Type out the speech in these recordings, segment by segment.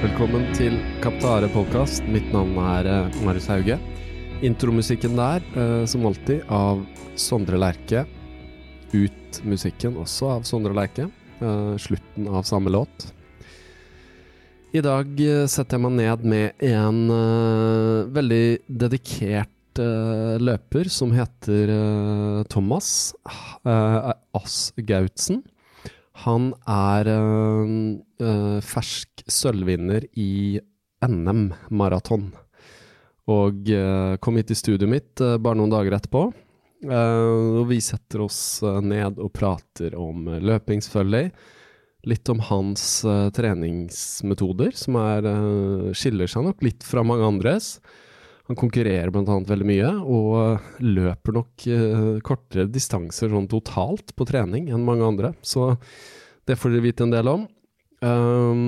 Velkommen til Kaptare podcast. Mitt navn er eh, Marius Hauge. Intromusikken der, eh, som alltid, av Sondre Lerche. Ut-musikken også av Sondre Lerche. Eh, Slutten av samme låt. I dag eh, setter jeg meg ned med en eh, veldig dedikert eh, løper som heter eh, Thomas eh, Ass Gautsen. Han er eh, eh, fersk sølvvinner i NM-maraton. Og eh, kom hit i studioet mitt eh, bare noen dager etterpå. Eh, og vi setter oss eh, ned og prater om eh, løping, selvfølgelig. Litt om hans eh, treningsmetoder, som er, eh, skiller seg nok litt fra mange andres. Han konkurrerer bl.a. veldig mye, og eh, løper nok eh, kortere distanser sånn totalt på trening enn mange andre. Så det får dere vite en del om. Ehm,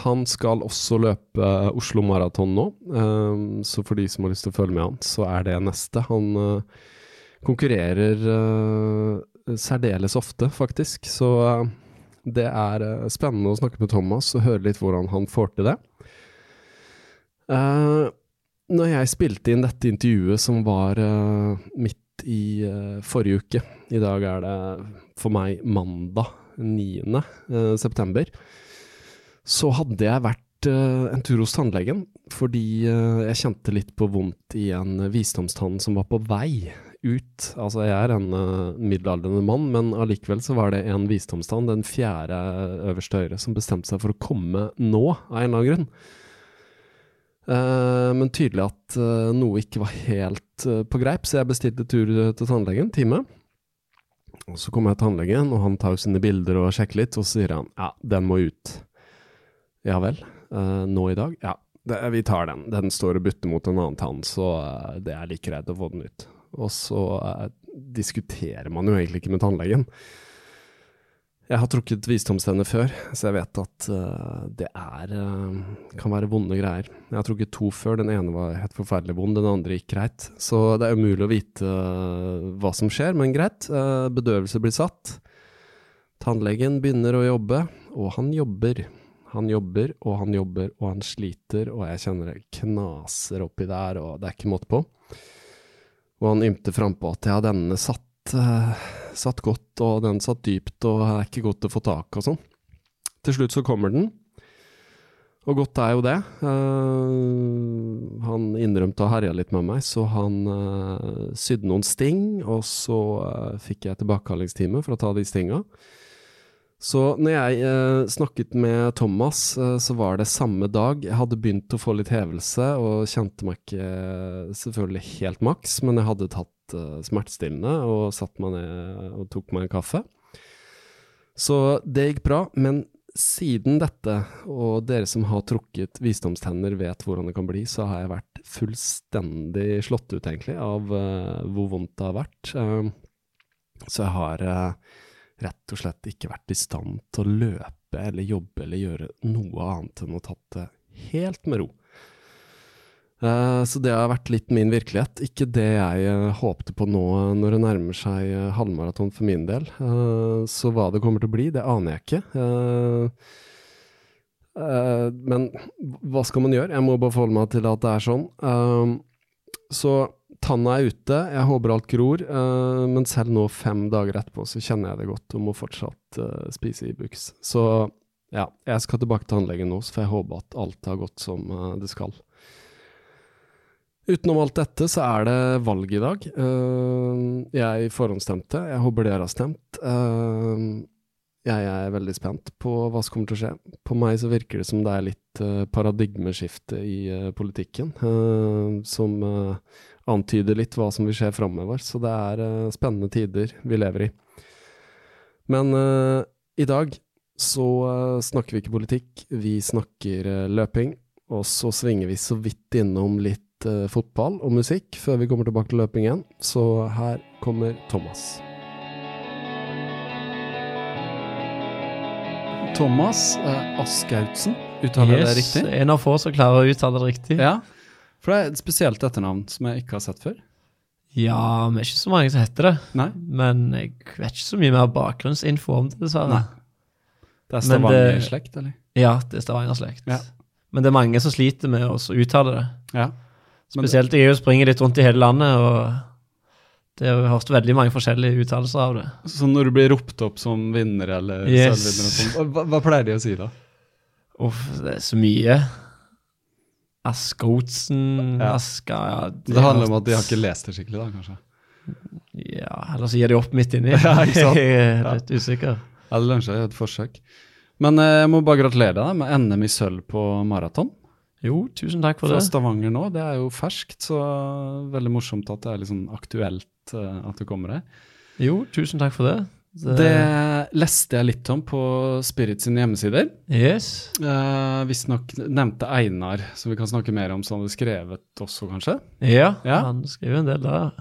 han skal også løpe Oslo Maraton nå, ehm, så for de som har lyst til å følge med han, så er det neste. Han eh, konkurrerer eh, særdeles ofte, faktisk. Så eh, det er eh, spennende å snakke med Thomas og høre litt hvordan han får til det. Eh, når jeg spilte inn dette intervjuet som var eh, midt i eh, forrige uke I dag er det for meg mandag 9. eh, september. Så hadde jeg vært eh, en tur hos tannlegen fordi eh, jeg kjente litt på vondt i en visdomstann som var på vei ut. Altså, jeg er en eh, middelaldrende mann, men allikevel så var det en visdomstann, den fjerde øverste høyre, som bestemte seg for å komme nå, av en eller annen grunn. Eh, men tydelig at eh, noe ikke var helt eh, på greip, så jeg bestilte tur eh, til tannlegen, time. Og så kommer jeg til tannlegen, og han tar jo sine bilder og sjekker litt, og så sier han ja, den må ut. Ja vel, eh, nå i dag? Ja, det, vi tar den. Den står og butter mot en annen tann, så eh, det er like greit å få den ut. Og så eh, diskuterer man jo egentlig ikke med tannlegen. Jeg har trukket visdomstenner før, så jeg vet at eh, det er eh, kan være vonde greier. Jeg har trukket to før. Den ene var helt forferdelig vond, den andre gikk greit. Så det er umulig å vite eh, hva som skjer, men greit. eh, bedøvelse blir satt. Tannlegen begynner å jobbe, og han jobber. Han jobber, og han jobber, og han sliter, og jeg kjenner det knaser oppi der, og det er ikke måte på. Og han ymte frampå at ja, denne satt, eh, satt godt, og den satt dypt, og det er ikke godt å få tak og sånn. Til slutt så kommer den, og godt er jo det. Eh, han innrømte og herja litt med meg, så han eh, sydde noen sting, og så eh, fikk jeg tilbakekallingstime for å ta de stinga. Så når jeg eh, snakket med Thomas, eh, så var det samme dag. Jeg hadde begynt å få litt hevelse og kjente meg ikke eh, selvfølgelig helt maks, men jeg hadde tatt eh, smertestillende eh, og satt meg ned og tok meg en kaffe. Så det gikk bra, men siden dette, og dere som har trukket visdomstenner vet hvordan det kan bli, så har jeg vært fullstendig slått ut, egentlig, av eh, hvor vondt det har vært. Eh, så jeg har eh, rett og slett ikke vært i stand til å løpe eller jobbe eller gjøre noe annet enn å tatt det helt med ro. Eh, Så det har vært litt min virkelighet. Ikke det jeg eh, håpte på nå eh, når det nærmer seg eh, halvmaraton for min del. Eh, Så hva det kommer til å bli, det aner jeg ikke. Eh, eh, Men hva skal man gjøre? Jeg må bare forholde meg til at det er sånn. Eh, Så tanna er ute, jeg håper alt gror. eh, Men selv nå fem dager etterpå så kjenner jeg det godt og må fortsatt eh, spise Ibux. Så ja, jeg skal tilbake til tannlegen nå, så får jeg håpe at alt har gått som eh, det skal. Utenom alt dette så er det valg i dag. Eh, Jeg forhåndsstemte. Jeg håper dere har stemt. Eh, Jeg er veldig spent på hva som kommer til å skje. På meg så virker det som det er litt eh, paradigmeskifte i eh, politikken, eh, som eh, antyder litt hva som vil skje framover. Så det er eh, spennende tider vi lever i. Men eh, i dag så eh, snakker vi ikke politikk, vi snakker eh, løping. Og så svinger vi så vidt innom litt eh, fotball og musikk før vi kommer tilbake til løping igjen. Så her kommer Thomas. Thomas eh, Askautsen, uttaler jeg det Yes, riktig? En av få som klarer å uttale det riktig. Ja. For det er et spesielt etternavn som jeg ikke har sett før. Ja, vi er ikke så mange som heter det. Nei. Men jeg vet ikke så mye mer bakgrunnsinfo om det, dessverre. Nei. Det er Men det- Stavanger-slekt, eller? Ja, det er Stavanger-slekt. Ja. Men det er mange som sliter med å også uttale det. Ja. Men det- Spesielt jeg er jo springer litt rundt i hele landet, og det har jeg hørt veldig mange forskjellige uttalelser av det. Så når du blir ropt opp som vinner eller Yes. selvvinner og sånn, hva, hva pleier de å si da? Uff, det er så mye. Askotsen, Ja. Aska ja, Det handler om at de har ikke lest det skikkelig da, kanskje? Ja, eller så gir de opp midt inni. Ja, ikke sant? Jeg er Ja. litt usikker. Eller lunsja er jo et forsøk. Men eh, jeg må bare gratulere deg med NM i sølv på maraton. Jo, tusen takk for Fra det. Stavanger nå, det er jo ferskt, så veldig morsomt at det er litt sånn aktuelt eh, at du kommer her. Jo, tusen takk for det. Det- Det leste jeg litt om på Spirit sine hjemmesider. Yes. Eh, Visstnok nevnte Einar, som vi kan snakke mer om, som hadde skrevet også, kanskje. Ja, Ja. han skriver en del der.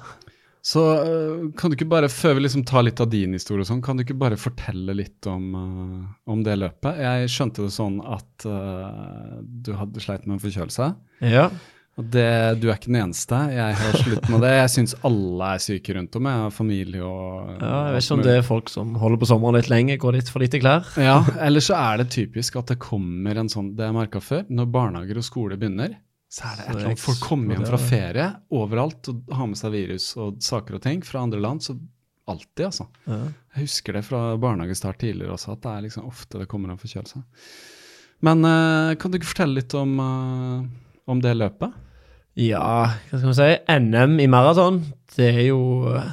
Så eh, kan du ikke bare, før vi liksom tar litt av din historie og sånn, kan du ikke bare fortelle litt om, eh, om det løpet? Jeg skjønte det sånn at eh, du hadde sleit med en forkjølelse. Ja. Og det, du er ikke den eneste. Jeg har slutt med det. Jeg syns alle er syke rundt om. Jeg har familie og ja, jeg vet ikke om det er folk som holder på sommeren litt lenge, går litt for lite klær. Ja, eller så er det typisk at det kommer en sånn Det jeg merka før, når barnehager og skole begynner, så er det et eller annet Folk kommer hjem fra ferie overalt og har med seg virus og saker og ting fra andre land. Så alltid, altså. Ja. Jeg husker det fra barnehagestart tidligere også, at det er liksom ofte det kommer en forkjølelse. Men eh, kan du ikke fortelle litt om, eh, om det løpet? ja, hva skal vi si. NM i maraton, det er jo eh,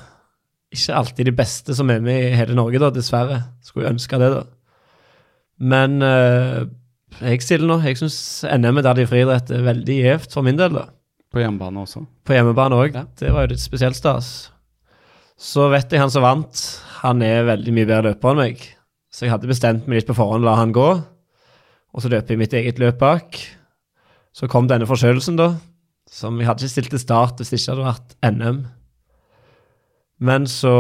ikke alltid de beste som er med i hele Norge, da, dessverre. Skulle jo ønske det, da. Men eh, jeg stiller nå. Jeg syns NM i Daddy friidrett er veldig gjevt for min del, da. På hjemmebane også? På hjemmebane òg. Ja. Det var jo litt spesielt stas. Så vet jeg han som vant, han er veldig mye bedre løper enn meg. Så jeg hadde bestemt meg litt på forhånd, la han gå. Og så løper jeg mitt eget løp bak. Så kom denne forkjølelsen, da. Som jeg hadde ikke stilt til start hvis det ikke hadde vært NM. Men så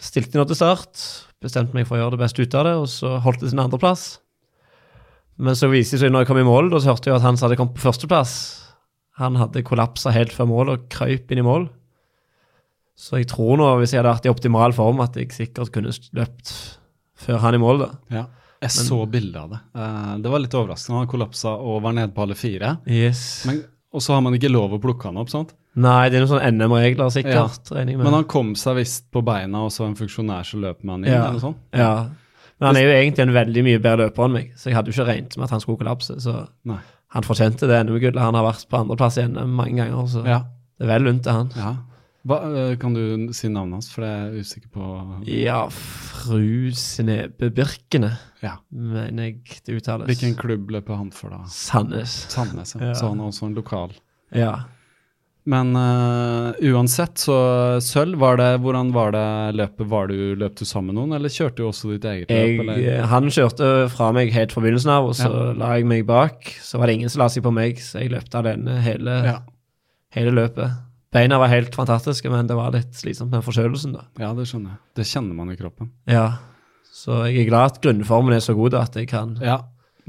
stilte jeg nå til start. Bestemte meg for å gjøre det beste ut av det, og så holdt det sin andreplass. Men så viste det seg når jeg kom i mål, da så hørte jeg at han som hadde kommet på førsteplass, han hadde kollapsa helt før mål og krøyp inn i mål. Så jeg tror nå, hvis jeg hadde vært i optimal form, at jeg sikkert kunne løpt før han i mål, da. Ja. Jeg så bildet av det. Eh, det var litt overraskende. Han kollapsa og var nede på alle fire. Yes. Men, og så har man ikke lov å plukke han opp, sant? Nei, det er noen sånne NM-regler, sikkert, regner jeg med. Men han kom seg visst på beina, og så var det en funksjonær som løp med han inn, Ja. eller sånn? noe sånt. ja. Men han er jo egentlig en veldig mye bedre løper enn meg, så jeg hadde jo ikke regnet med at han skulle kollapse. Så Nei. han fortjente det NM-gullet. Han har vært på andreplass i NM mange ganger, så Ja. det er vel lunt til han. ja. Hva, eh, kan du si navnet hans, for jeg er usikker på Ja, fru Snebe Birkene, Ja. mener jeg det uttales. Hvilken klubb løper han for, da? Sandnes. Sandnes, ja. Ja. Så han er også en lokal. Ja. Men eh, uansett, så sølv, var det, hvordan var det løpet? Var du, løp du sammen med noen, eller kjørte du også ditt eget løp? Jeg, eller? eh, han kjørte fra meg helt fra begynnelsen av, og så la jeg meg bak. Så var det ingen som la seg på meg, så jeg løpte alene hele, Ja. hele løpet. Beina var helt fantastiske, men det var litt slitsomt med forkjølelsen, da. ja, det skjønner jeg. Det kjenner man i kroppen. Ja. Så jeg er glad at grunnformen er så god da, at jeg kan Ja,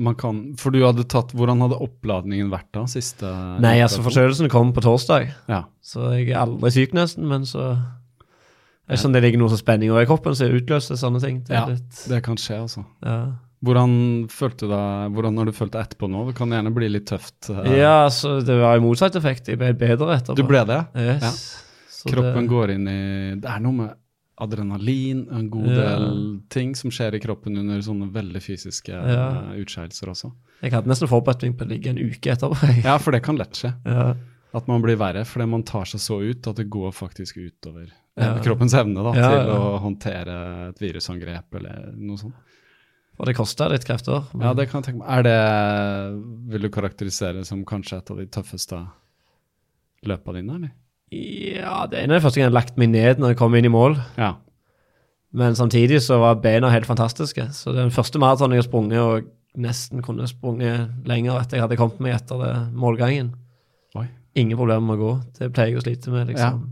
man kan, for du hadde tatt, hvordan hadde oppladningen vært da, siste Nei, altså, forkjølelsen kom på torsdag, Ja, så jeg er aldri syk nesten, men så Det er sånn det ligger noe sånn spenning over i kroppen, så jeg utløser sånne ting. Det er Ja. litt, det kan skje, altså. ja. Hvordan følte du deg, hvordan har du følt deg etterpå nå? Det kan gjerne bli litt tøft. eh. ja, så det var jo motsatt effekt. Jeg ble bedre etterpå. Du ble det? Ja. Yes. Så Kroppen det- går inn i Det er noe med adrenalin og en god Ja. del ting som skjer i kroppen under sånne veldig fysiske Ja. eh, utskeielser også. Jeg hadde nesten forberedt meg på å ligge en uke etterpå. jeg. Eh, Ja, for det kan lett skje. Ja. At man blir verre fordi man tar seg så ut at det går faktisk utover eh, Ja. kroppens evne da, Ja, til ja. å håndtere et virusangrep eller noe sånt. Og det kosta litt krefter. men- Ja, det kan jeg tenke meg. Er det Vil du karakterisere det som kanskje et av de tøffeste løpa dine, eller? Ja, det ene er første gang jeg har lagt meg ned når jeg kom inn i mål. Ja. Men samtidig så var beina helt fantastiske. Så den første maratonen jeg har sprunget, og nesten kunne sprunget lenger etter jeg hadde kommet meg etter det målgangen. Oi. Ingen problemer med å gå. Det pleier jeg å slite med, liksom.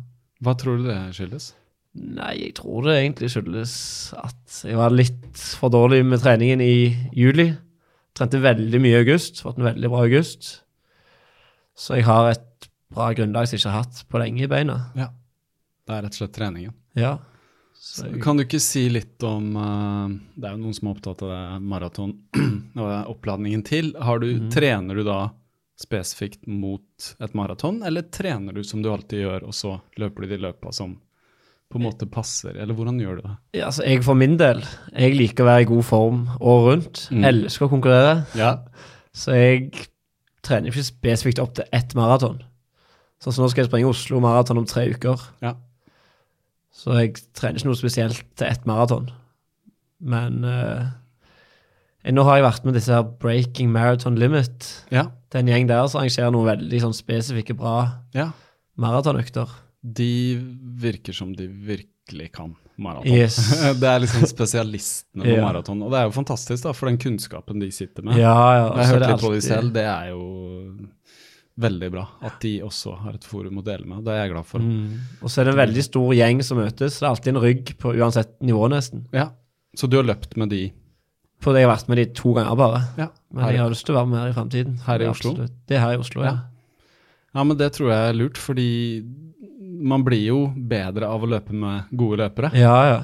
Hva tror du det skyldes? Nei, jeg tror det egentlig skyldes at jeg var litt for dårlig med treningen i juli. Trente veldig mye i august, fått en veldig bra august. Så jeg har et bra grunnlag som jeg ikke har hatt på lenge i beina. Det er rett og slett treningen. Ja. Så jeg, Kan du ikke si litt om eh, Det er jo noen som er opptatt av det maraton og oppladningen til. Har du, Trener du da spesifikt mot et maraton, eller trener du som du alltid gjør, og så løper du de løpa som på en måte passer, eller hvordan gjør du det? ja, altså, jeg for min del, jeg liker å være i god form året rundt. Mm. Elsker å konkurrere. Ja. Så jeg trener ikke spesifikt opp til ett maraton. Sånn som nå skal jeg springe Oslo maraton om tre uker. Ja. Så jeg trener ikke noe spesielt til ett maraton. Men eh, eh, nå har jeg vært med disse her Breaking Marathon Limit. ja. Det er en gjeng der som arrangerer noen veldig sånn, spesifikke bra Ja. maratonøkter. De virker som de virkelig kan maraton. Yes. det er liksom spesialistene på Ja. maraton, og det er jo fantastisk da, for den kunnskapen de sitter Ja, med. ja. Jeg har så er hørt det litt på de alltid- selv, det er jo veldig bra at de også har et forum å dele med, og det er jeg glad for. Mm. Og så er det en veldig stor gjeng som møtes. Det er alltid en rygg på uansett nivå, nesten. Ja. Så du har løpt med de For jeg har vært med de to ganger bare. ja, Men jeg har lyst til å være med her i fremtiden. Her i Ja, Oslo? absolutt. Det er her i Oslo, ja. Ja. Ja, men det tror jeg er lurt, fordi man blir jo bedre av å løpe med gode løpere. Ja, ja.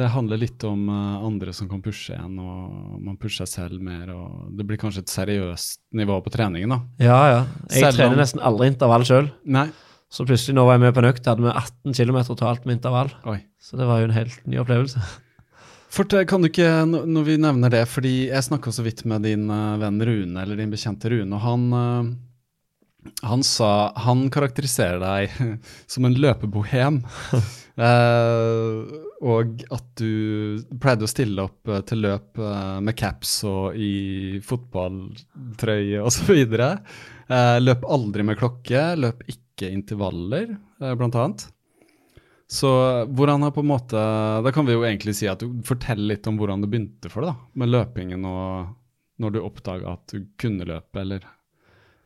Det handler litt om eh, andre som kan pushe en, og man pusher seg selv mer. og Det blir kanskje et seriøst nivå på treningen, da. ja, ja. Jeg Selv om- trener nesten aldri intervall sjøl. Nei, Så plutselig, nå var jeg med på en økt, hadde vi 18 km totalt med intervall. oi. Så det var jo en helt ny opplevelse. Fortell, eh, kan du ikke, n- når vi nevner det, fordi jeg snakka så vidt med din eh, venn Rune, eller din bekjente Rune, og han eh, han sa Han karakteriserer deg som en løpebohem. Eh, og at du pleide å stille opp eh, til løp eh, med caps og i fotballtrøye osv. Uh, løp aldri med klokke, løp ikke intervaller, eh, blant annet. Så hvordan har på en måte Da kan vi jo egentlig si at du forteller litt om hvordan det begynte for deg, da, med løpingen og når du oppdaga at du kunne løpe, eller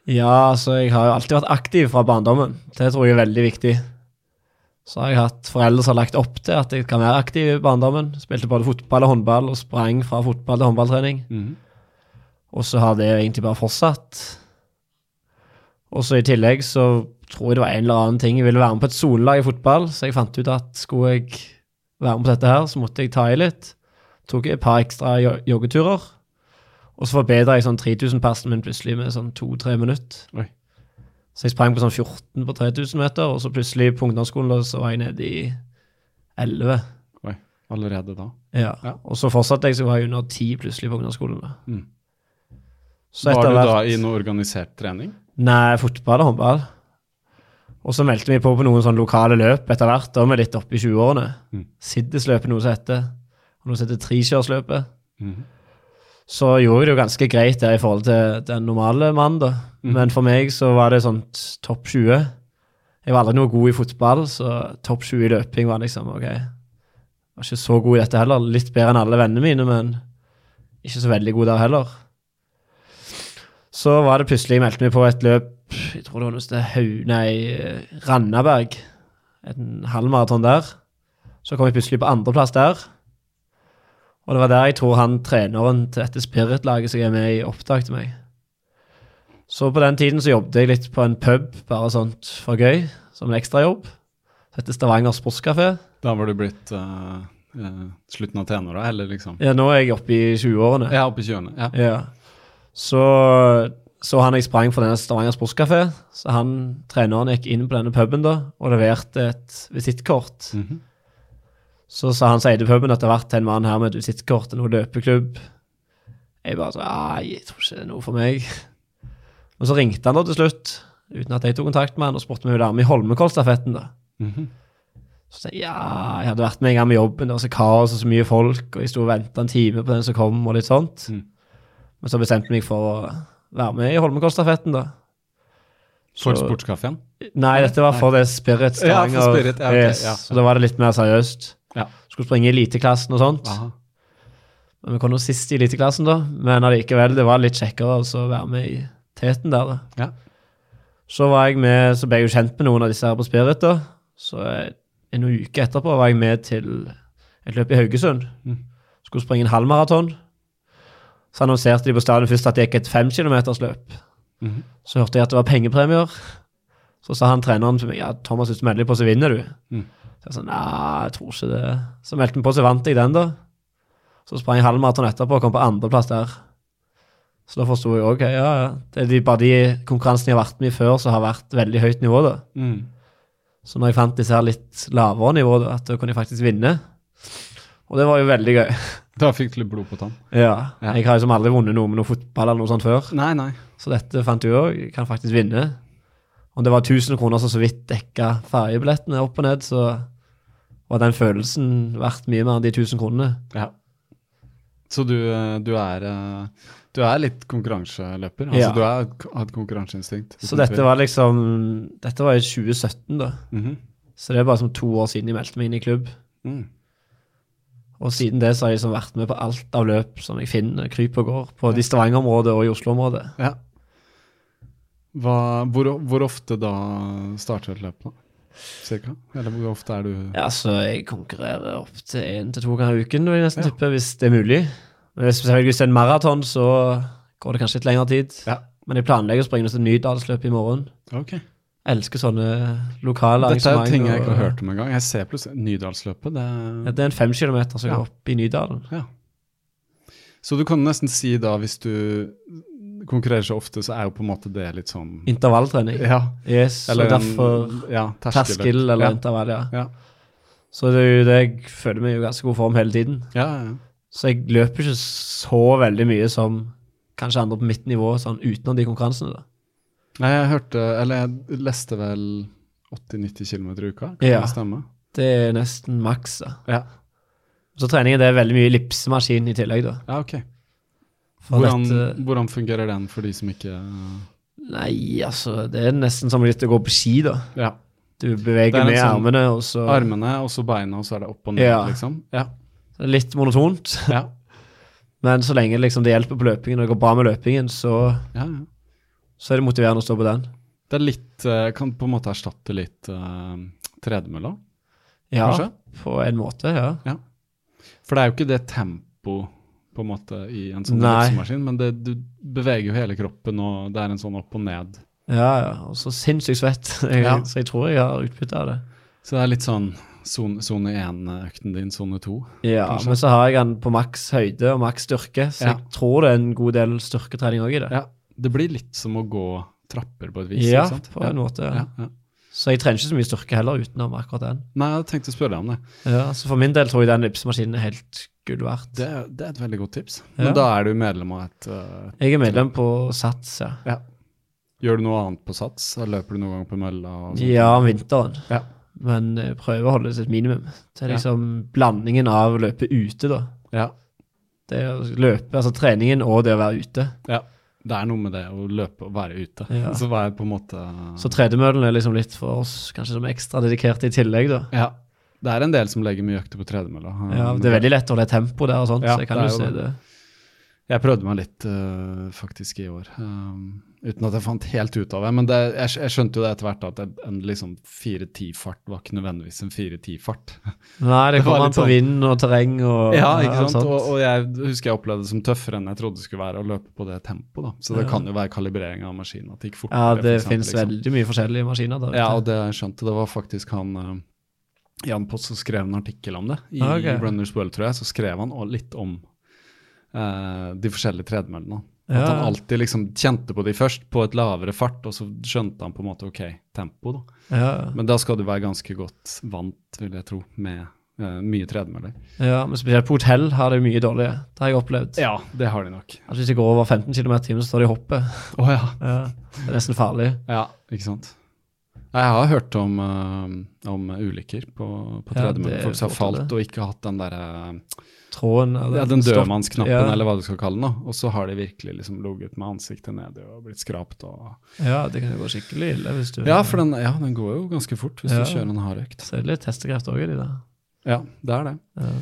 Ja, så jeg har jo alltid vært aktiv fra barndommen. Det tror jeg er veldig viktig. Så har jeg hatt foreldre som har lagt opp til at jeg kan være aktiv i barndommen. Spilte både fotball og håndball og sprang fra fotball til håndballtrening. Og så har det egentlig bare fortsatt. Og så i tillegg så tror jeg det var en eller annen ting. Jeg ville være med på et solelag i fotball, så jeg fant ut at skulle jeg være med på dette her, så måtte jeg ta i litt. Tok et par ekstra jo- joggeturer. Og så forbedra jeg sånn 3000-passen min plutselig med sånn to-tre minutter. Oi. Så jeg sprang på sånn 14 på 3000 meter, og så plutselig på ungdomsskolen da, så var jeg nede i 11. Oi, allerede da. Ja. Ja. Og så fortsatte jeg, så var jeg under 10 plutselig på ungdomsskolen. da. Mm. Så var etter du da hvert- i noe organisert trening? Nei, fotball og håndball. Og så meldte vi på på noen sånne lokale løp etter hvert, da var vi litt oppe i 20-årene. Mm. Siddesløpet noe som heter, og noe som heter trikjørsløpet. Så gjorde jeg det jo ganske greit der i forhold til den normale mannen, da. Men for meg så var det sånt topp 20. Jeg var aldri noe god i fotball, så topp 20 i løping var liksom ok. Jeg var ikke så god i dette heller. Litt bedre enn alle vennene mine, men ikke så veldig god der heller. Så var det plutselig jeg meldte meg på et løp Jeg tror det var noe sted Hau- Nei, eh, Randaberg. En halvmaraton der. Så kom jeg plutselig på andreplass der. Og det var der jeg tror han treneren til dette spiritlaget som jeg er med i, oppdaget meg. Så på den tiden så jobbet jeg litt på en pub, bare sånt for gøy, som en ekstrajobb. Det heter Stavanger Sportskafé. Da var du blitt eh, eh, slutten av tenåra, eller liksom Ja, nå er jeg oppe i 20-årene. Ja, oppe i 20 Ja. Ja. Så så han jeg sprang for denne Stavanger Sportskafé. Så han, treneren gikk inn på denne puben da, og leverte et visittkort. Mhm. Så sa han som eide puben at det har vært en mann her med et visittkort og noe løpeklubb. Jeg bare så, «Ai, jeg tror ikke det er noe for meg. Men så ringte han da til slutt, uten at jeg tok kontakt med han, og spurte om jeg ville være med i Holmenkollstafetten. da. Mhm. Så sa jeg ja, jeg hadde vært med en gang med jobben, det var så kaos og så mye folk, og jeg sto og venta en time på den som kom, og litt sånt. Mm. Men så bestemte jeg meg for å være med i Holmenkollstafetten, da. For Så- sportskaffen? Nei, dette var for det Spirit Ja, for Stavanger. Spirit, ja, ok, yes, ja. Så da var det litt mer seriøst. Ja. Skulle springe i eliteklassen og sånt. Aha. Men vi kom nå sist i eliteklassen, da. Men allikevel, det var litt kjekkere altså, å være med i teten der, da. Ja. Så, var jeg med, så ble jeg jo kjent med noen av disse her på Spirit, da. Så eh, en uke etterpå var jeg med til et løp i Haugesund. Mm. Skulle springe en halvmaraton. Så annonserte de på stadion først at det gikk et femkilometersløp. Mhm. Så hørte jeg at det var pengepremier. Så sa han treneren til meg ja, Thomas, hvis du melder deg på, så vinner du. Mhm. Så jeg sa nei, jeg tror ikke det. Så meldte jeg meg på, så vant jeg den, da. Så sprang jeg halvmaraton etterpå og kom på andreplass der. Så da forsto jeg ok, ja, ja. Det er de, bare de konkurransene jeg har vært med i før, som har vært veldig høyt nivå, da. Mm. Så når jeg fant disse her litt lavere nivå, da, at da kunne jeg faktisk vinne. Og det var jo veldig gøy. Da fikk du litt blod på tann? Ja. Ja. Jeg har liksom aldri vunnet noe med noe fotball eller noe sånt før. Nei, nei. Så dette fant du òg, jeg kan faktisk vinne. Om det var 1000 kroner som så vidt dekka ferjebillettene opp og ned, så var den følelsen verdt mye mer enn de 1000 kronene. Ja. Så du, eh, du er eh, Du er litt konkurranseløper? Altså Ja. du er, har et konkurranseinstinkt? Så dette var liksom Dette var i 2017, da. Mhm. Så det er bare som to år siden jeg meldte meg inn i klubb. Mm. Og siden det så har jeg liksom vært med på alt av løp som jeg finner, kryper og går, på de Stavanger-området og i Oslo-området. Ja. Hva, hvor, hvor ofte da starter et løp, da? Cirka? Eller hvor ofte er du Ja, så jeg konkurrerer opp til én til to ganger i uken, vil jeg nesten tippe, hvis det er mulig. Men hvis selvfølgelig hvis det er en maraton, så går det kanskje litt lengre tid. Ja. Men jeg planlegger å springe til Nydalsløpet i morgen. Ok. Elsker sånne lokale Dette er jo arrangementer. ting jeg ikke har og- hørt om engang. Jeg ser plutselig Nydalsløpet. Det Ja, er, det er en fem kilometer som Ja. går opp i Nydalen. ja. Så du kan nesten si da, hvis du konkurrerer så ofte, så er jo på en måte det litt sånn Intervalltrening. Ja. Yes, Eller og derfor en, ja, terskel. terskel eller ja. intervall, ja. Ja. Så det er jo det jeg føler meg i ganske god form hele tiden. Ja, ja, ja. Så jeg løper ikke så veldig mye som kanskje andre på mitt nivå, sånn utenom de konkurransene. da. Nei, jeg hørte, eller jeg leste vel 80-90 km i uka, kan Ja. det stemme? Det er nesten maks. da. Ja. Så treningen det er veldig mye ellipsemaskin i tillegg, da. Ja, ok. For Hvordan, dette, hvordan fungerer den for de som ikke nei, altså, det er nesten som litt å gå på ski, da. Ja. Du Det er beveger en med sånn armene, og så Armene og så beina, og så er det opp og ned, Ja. liksom? Ja. Det er Litt monotont. Ja. Men så lenge liksom, det hjelper på løpingen, og det går bra med løpingen, så, ja, ja. så er det motiverende å stå på den. Det er litt eh, Kan på en måte erstatte litt uh, tredemølla, Ja, kanskje? på en måte, ja. For det er jo ikke det tempo på en måte i en sånn Nei. løpemaskin, men det, du beveger jo hele kroppen, og det er en sånn opp og ned. Ja, ja. Og så sinnssykt svett. Jeg, Ja. Så jeg tror jeg har utbytte av det. Så det er litt sånn son- sone 1-økten din, sone 2. Ja, Kanskje. Men så har jeg den på maks høyde og maks styrke, så Ja. jeg tror det er en god del styrketrening òg i det. Ja, det blir litt som å gå trapper på et vis, Ja, ikke sant? på en måte. Ja, Ja. ja. Så jeg trenger ikke så mye styrke heller utenom akkurat den. Nei, jeg tenkte å spørre deg om det. Ja, Så for min del tror jeg den ellipsemaskinen er helt gull verdt. Det, er- det er et veldig godt tips. Ja. Men da er du medlem av et øh, Jeg er medlem på Sats, ja. Gjør du noe annet på sats? Da løper du noen gang på mølla? og sånn? sånt? Ja, om vinteren. Ja. Men jeg prøver å holde det til et minimum. Det er Ja. liksom blandingen av å løpe ute, da. Ja. Det å løpe, altså treningen og det å være ute. Det er noe med det å løpe og være ute. Ja. Så var jeg på en måte Så tredemøllen er liksom litt for oss kanskje som ekstra dedikerte i tillegg, da. Ja. Det er en del som legger mye økter på tredemølla. Um, Ja, det er veldig lett å holde tempo der og sånt, Mm. Ja, så jeg kan det jo er jo se det. det. Jeg prøvde meg litt eh, faktisk i år, um, uten at jeg fant helt ut av det. Men det, jeg, skj- jeg skjønte jo det etter hvert at en, en liksom 4.10-fart var ikke nødvendigvis en 4.10-fart. Nei, det Det var kommer an på litt sånn- vind og terreng og Ja, ikke sant? alt sånt. Og, og jeg husker jeg opplevde det som tøffere enn jeg trodde det skulle være å løpe på det tempoet. da. Så det Ja. kan jo være kalibrering av maskinen. at det gikk fortere. Ja, det for eksempel, finnes liksom. veldig mye forskjellige maskiner der. ute. Ja, og det jeg skjønte, det var faktisk han eh, Jan Post som skrev en artikkel om det. I Ah, ok. Runners World, tror jeg, så skrev han også litt om eh, de forskjellige tredemøllene. At Ja. han alltid liksom kjente på de først, på et lavere fart, og så skjønte han på en måte OK, tempo, da. ja. Men da skal du være ganske godt vant, vil jeg tro, med eh, mye tredemøller. ja, men spesielt på hotell har det mye dårlige. Det har jeg opplevd. Ja, det har de nok. At hvis jeg går over 15 km i timen, så står de i hoppet. Å ja. Ja. Det er nesten farlig. ja. Ikke sant. Nei, Jeg har hørt om, eh, om ulykker på, på Ja, tredemøller. det Folk som har forteller. falt og ikke hatt den eh, derre Tråden eller Ja, den stopp- dødmannsknappen, ja. eller hva du skal kalle den. da. Og så har de virkelig liksom ligget med ansiktet nede og blitt skrapt og Ja, det kan jo gå skikkelig ille hvis du Ja, for den, ja, den går jo ganske fort hvis Ja. du kjører en hard økt. Så er det litt hestekreft òg i de der. Ja, det er det. Ja.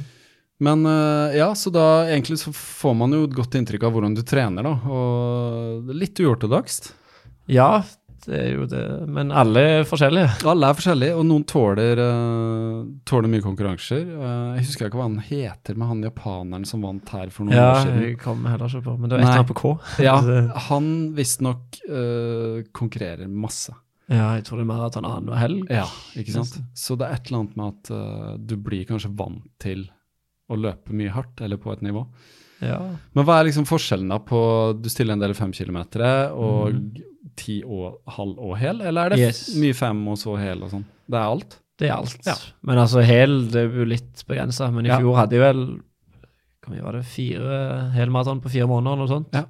Men eh, ja, så da egentlig så får man jo et godt inntrykk av hvordan du trener, da. Og det er litt uortodokst. ja, det er jo det. Men alle er forskjellige. Alle er forskjellige, og noen tåler, eh, tåler mye konkurranser. Eh, jeg husker ikke hva han heter, men han japaneren som vant her for noen Ja, år siden. jeg kommer heller ikke på, men det var et Nei. eller annet på K. Ja, Det- han visstnok uh, konkurrerer masse. ja, jeg tror det er mer at han har annenhver helg. Ja, ikke sant? Så det er et eller annet med at eh, du blir kanskje vant til å løpe mye hardt, eller på et nivå. Ja. Men hva er liksom forskjellen da på Du stiller en del fem kilometere og ti og halv og hel, eller er det f- Yes. mye fem og så hel og sånn? Det er alt? Det er alt. Ja. Men altså, hel det er jo litt begrensa. Men i Ja. fjor hadde jeg vel hvor mye var det, fire helmaraton på fire måneder eller noe sånt. Ja.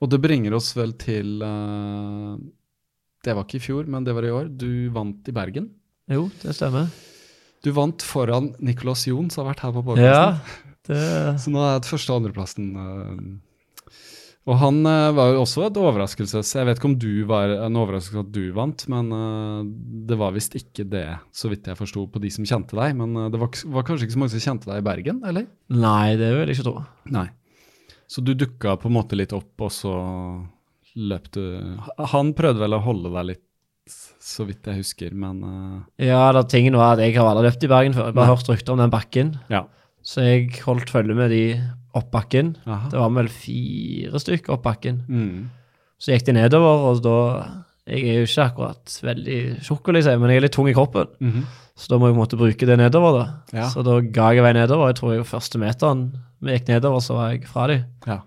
Og det bringer oss vel til eh, Det var ikke i fjor, men det var i år. Du vant i Bergen. Jo, det stemmer. Du vant foran Nicolas Jon, som har vært her på podcasten. Ja, det Så nå er det første- og andreplassen. eh, Og han eh, var jo også et overraskelse. så Jeg vet ikke om du var en overraskelse at du vant, men eh, det var visst ikke det, så vidt jeg forsto, på de som kjente deg. Men eh, det var, ikke- var kanskje ikke så mange som kjente deg i Bergen, eller? Nei, det vil jeg ikke tro. Nei. Så du dukka på en måte litt opp, og så løp du Han prøvde vel å holde deg litt, så vidt jeg husker, men eh, Ja, da, tingen var at jeg har aldri løpt i Bergen før. Jeg bare hørt rykter om den bakken. Ja. Så jeg holdt følge med de opp bakken. Aha. Det var vel fire stykk opp bakken. Mm. Så gikk de nedover, og da Jeg er jo ikke akkurat veldig tjukk, vil jeg si, men jeg er litt tung i kroppen. Mhm. Så da må jeg på en måte bruke det nedover, da. Ja. Så da ga jeg vei nedover. Jeg tror jeg første meteren vi gikk nedover, så var jeg fra dem. Ja.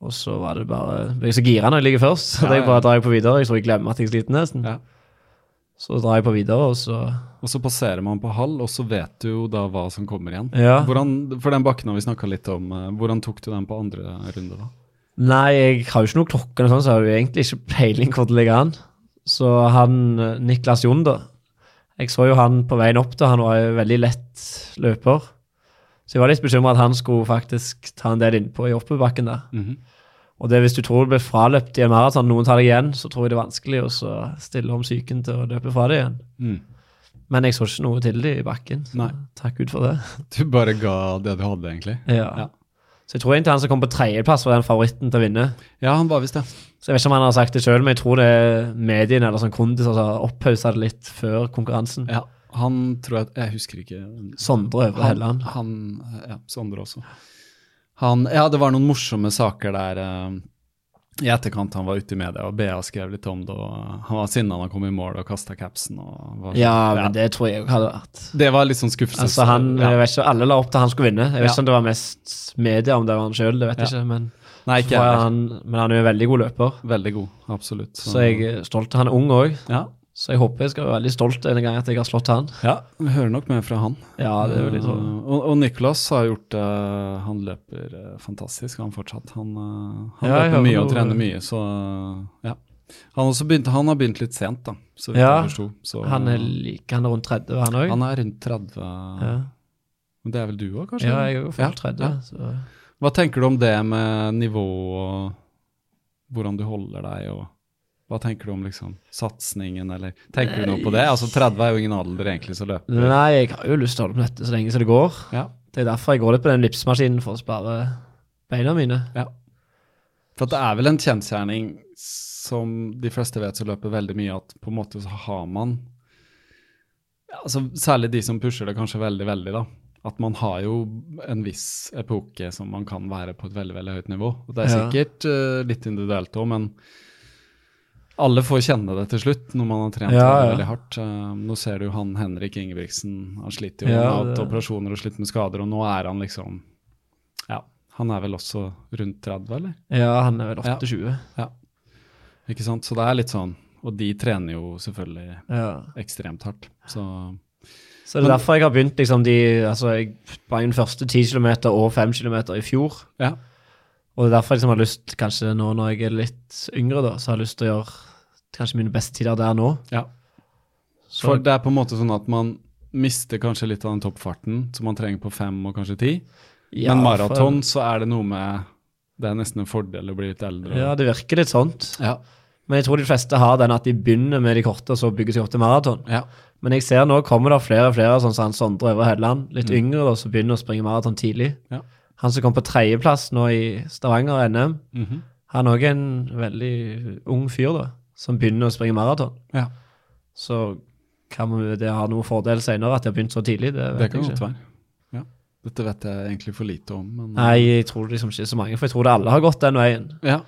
Og så var det bare ble Jeg så gira når jeg ligger først, så Ja, da jeg ja. bare drar jeg på videre. Jeg tror jeg glemmer at jeg er sliten nesten. Ja. Så drar jeg på videre, og så Og så passerer man på hall, og så vet du jo da hva som kommer igjen. Ja. Hvordan, for den bakken har vi snakka litt om. eh, Hvordan tok du den på andre runde, da? Nei, jeg har jo ikke noe klokke, eller sånn, så jeg har jo egentlig ikke peiling hvor det ligger an. Så han eh, Niklas Jon, da Jeg så jo han på veien opp, da. Han var jo veldig lett løper. Så jeg var litt bekymra at han skulle faktisk ta en del innpå i oppoverbakken der. Mhm. Og det hvis du tror du blir fraløpt i en maraton, noen tar deg igjen, så tror jeg det er vanskelig å så stille om psyken til å løpe fra deg igjen. Mm. Men jeg så ikke noe til det i bakken, så Nei. takk Gud for det. Du bare ga det du hadde, egentlig? Ja. Ja. Så jeg tror egentlig han som kom på tredjeplass, var den favoritten til å vinne. Ja, han var visst det. Så jeg vet ikke om han har sagt det sjøl, men jeg tror det er mediene eller sånn kondiser som har opphausa det litt før konkurransen. Ja. Han tror jeg Jeg husker ikke. Sondre Øvre Han, Helland. han eh, Ja, Sondre også. Han Ja, det var noen morsomme saker der eh, i etterkant han var ute i media, og BA skrev litt om det, og eh, han var sinna da han kom i mål og kasta capsen og var sånn. Ja, men det tror jeg òg hadde vært. Det var litt sånn skuffelse. Altså han, Ja. jeg vet ikke, Alle la opp til han skulle vinne. Jeg vet Ja. ikke om det var mest media, om det var han sjøl, det vet jeg Ja. ikke. Men, Nei, ikke så var jeg. han, men han er jo en veldig god løper, Veldig god, absolutt. så jeg er stolt. Han er ung òg, ja. så jeg håper jeg skal være veldig stolt en gang at jeg har slått han. Ja, vi hører nok mer fra han. Ja, det vil jeg tro. Eh, og, og Nicolas har gjort det Han løper eh, fantastisk, han fortsatt. Han, eh, han Ja, jeg løper hører mye og noe- trener mye, så eh, ja. Han, også begynte, han har begynt litt sent, da, så vidt Ja, jeg forsto. Så, Mm. Han er, eh, like, han er rundt 30, han òg. han er rundt 30 Ja. Men Det er vel du òg, kanskje? ja, jeg er jo Ja, fullt 30. ja. Så. Hva tenker du om det med nivå og hvordan du holder deg, og hva tenker du om liksom satsingen, eller Tenker du noe på det? Eh, Altså 30 er jo ingen alder egentlig som løper. Nei, jeg har jo lyst til å holde på dette så lenge som det går. Ja. Det er derfor jeg går litt på den lipsmaskinen, for å spare beina mine. For at det er vel en kjensgjerning som de fleste vet som løper veldig mye, at på en måte så har man ja, altså Særlig de som pusher det kanskje veldig, veldig, da. At man har jo en viss epoke som man kan være på et veldig veldig høyt nivå. Og det er Ja. sikkert eh, litt individuelt òg, men alle får kjenne det til slutt når man har trent Ja, veldig, ja. veldig hardt. Eh, nå ser du jo han Henrik Ingebrigtsen, han sliter jo Ja, han har det- hatt operasjoner og slitt med skader, og nå er han liksom Ja, han er vel også rundt 30, eller? Ja, han er vel 28. Ikke sant? Så det er litt sånn. Og de trener jo selvfølgelig Ja. ekstremt hardt. Så Så det er derfor jeg har begynt liksom de Altså, jeg sprang den første 10 km og 5 km i fjor. ja. Og det er derfor jeg liksom har lyst, kanskje nå når jeg er litt yngre, da, så har jeg lyst til å gjøre kanskje mine beste tider der nå. ja. Så- For det er på en måte sånn at man mister kanskje litt av den toppfarten som man trenger på fem og kanskje ti. Ja, Men maraton, så er det noe med Det er nesten en fordel å bli litt eldre. for- Ja, det virker litt sånt. ja. Men jeg tror de fleste har den at de begynner med de korte, og så bygger seg opp til maraton. ja. Men jeg ser nå kommer det flere og flere, sånn som han Sondre Øvre Hedland, litt yngre, da, som begynner å springe maraton tidlig. Mm. Ja. Han som kom på tredjeplass nå i Stavanger-NM, Mhm. han er òg en veldig ung fyr, da, som begynner å springe maraton. ja. Så kan vi- det ha noen fordel senere at de har begynt så tidlig? Det, vet Det jeg kan ikke. godt være. Ja. Dette vet jeg egentlig for lite om, men Nei, jeg tror liksom ikke så mange, for jeg tror det alle har gått den veien. ja.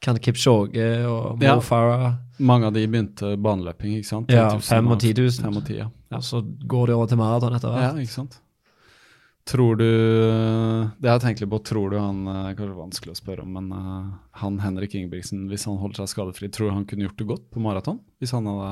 Kan Kipchoge og Mo Ja. Farah, Mange av de begynte baneløping, ikke sant? Ja, 10 000 fem og 10 000. Fem og ti, ja. ja. og så går de over til maraton etter Ja, hvert. ikke sant. Tror du Det har jeg tenkt litt på. Tror du han eh, Kanskje det er vanskelig å spørre om, men eh, han Henrik Ingebrigtsen, hvis han holder seg skadefri, tror du han kunne gjort det godt på maraton? Hvis han hadde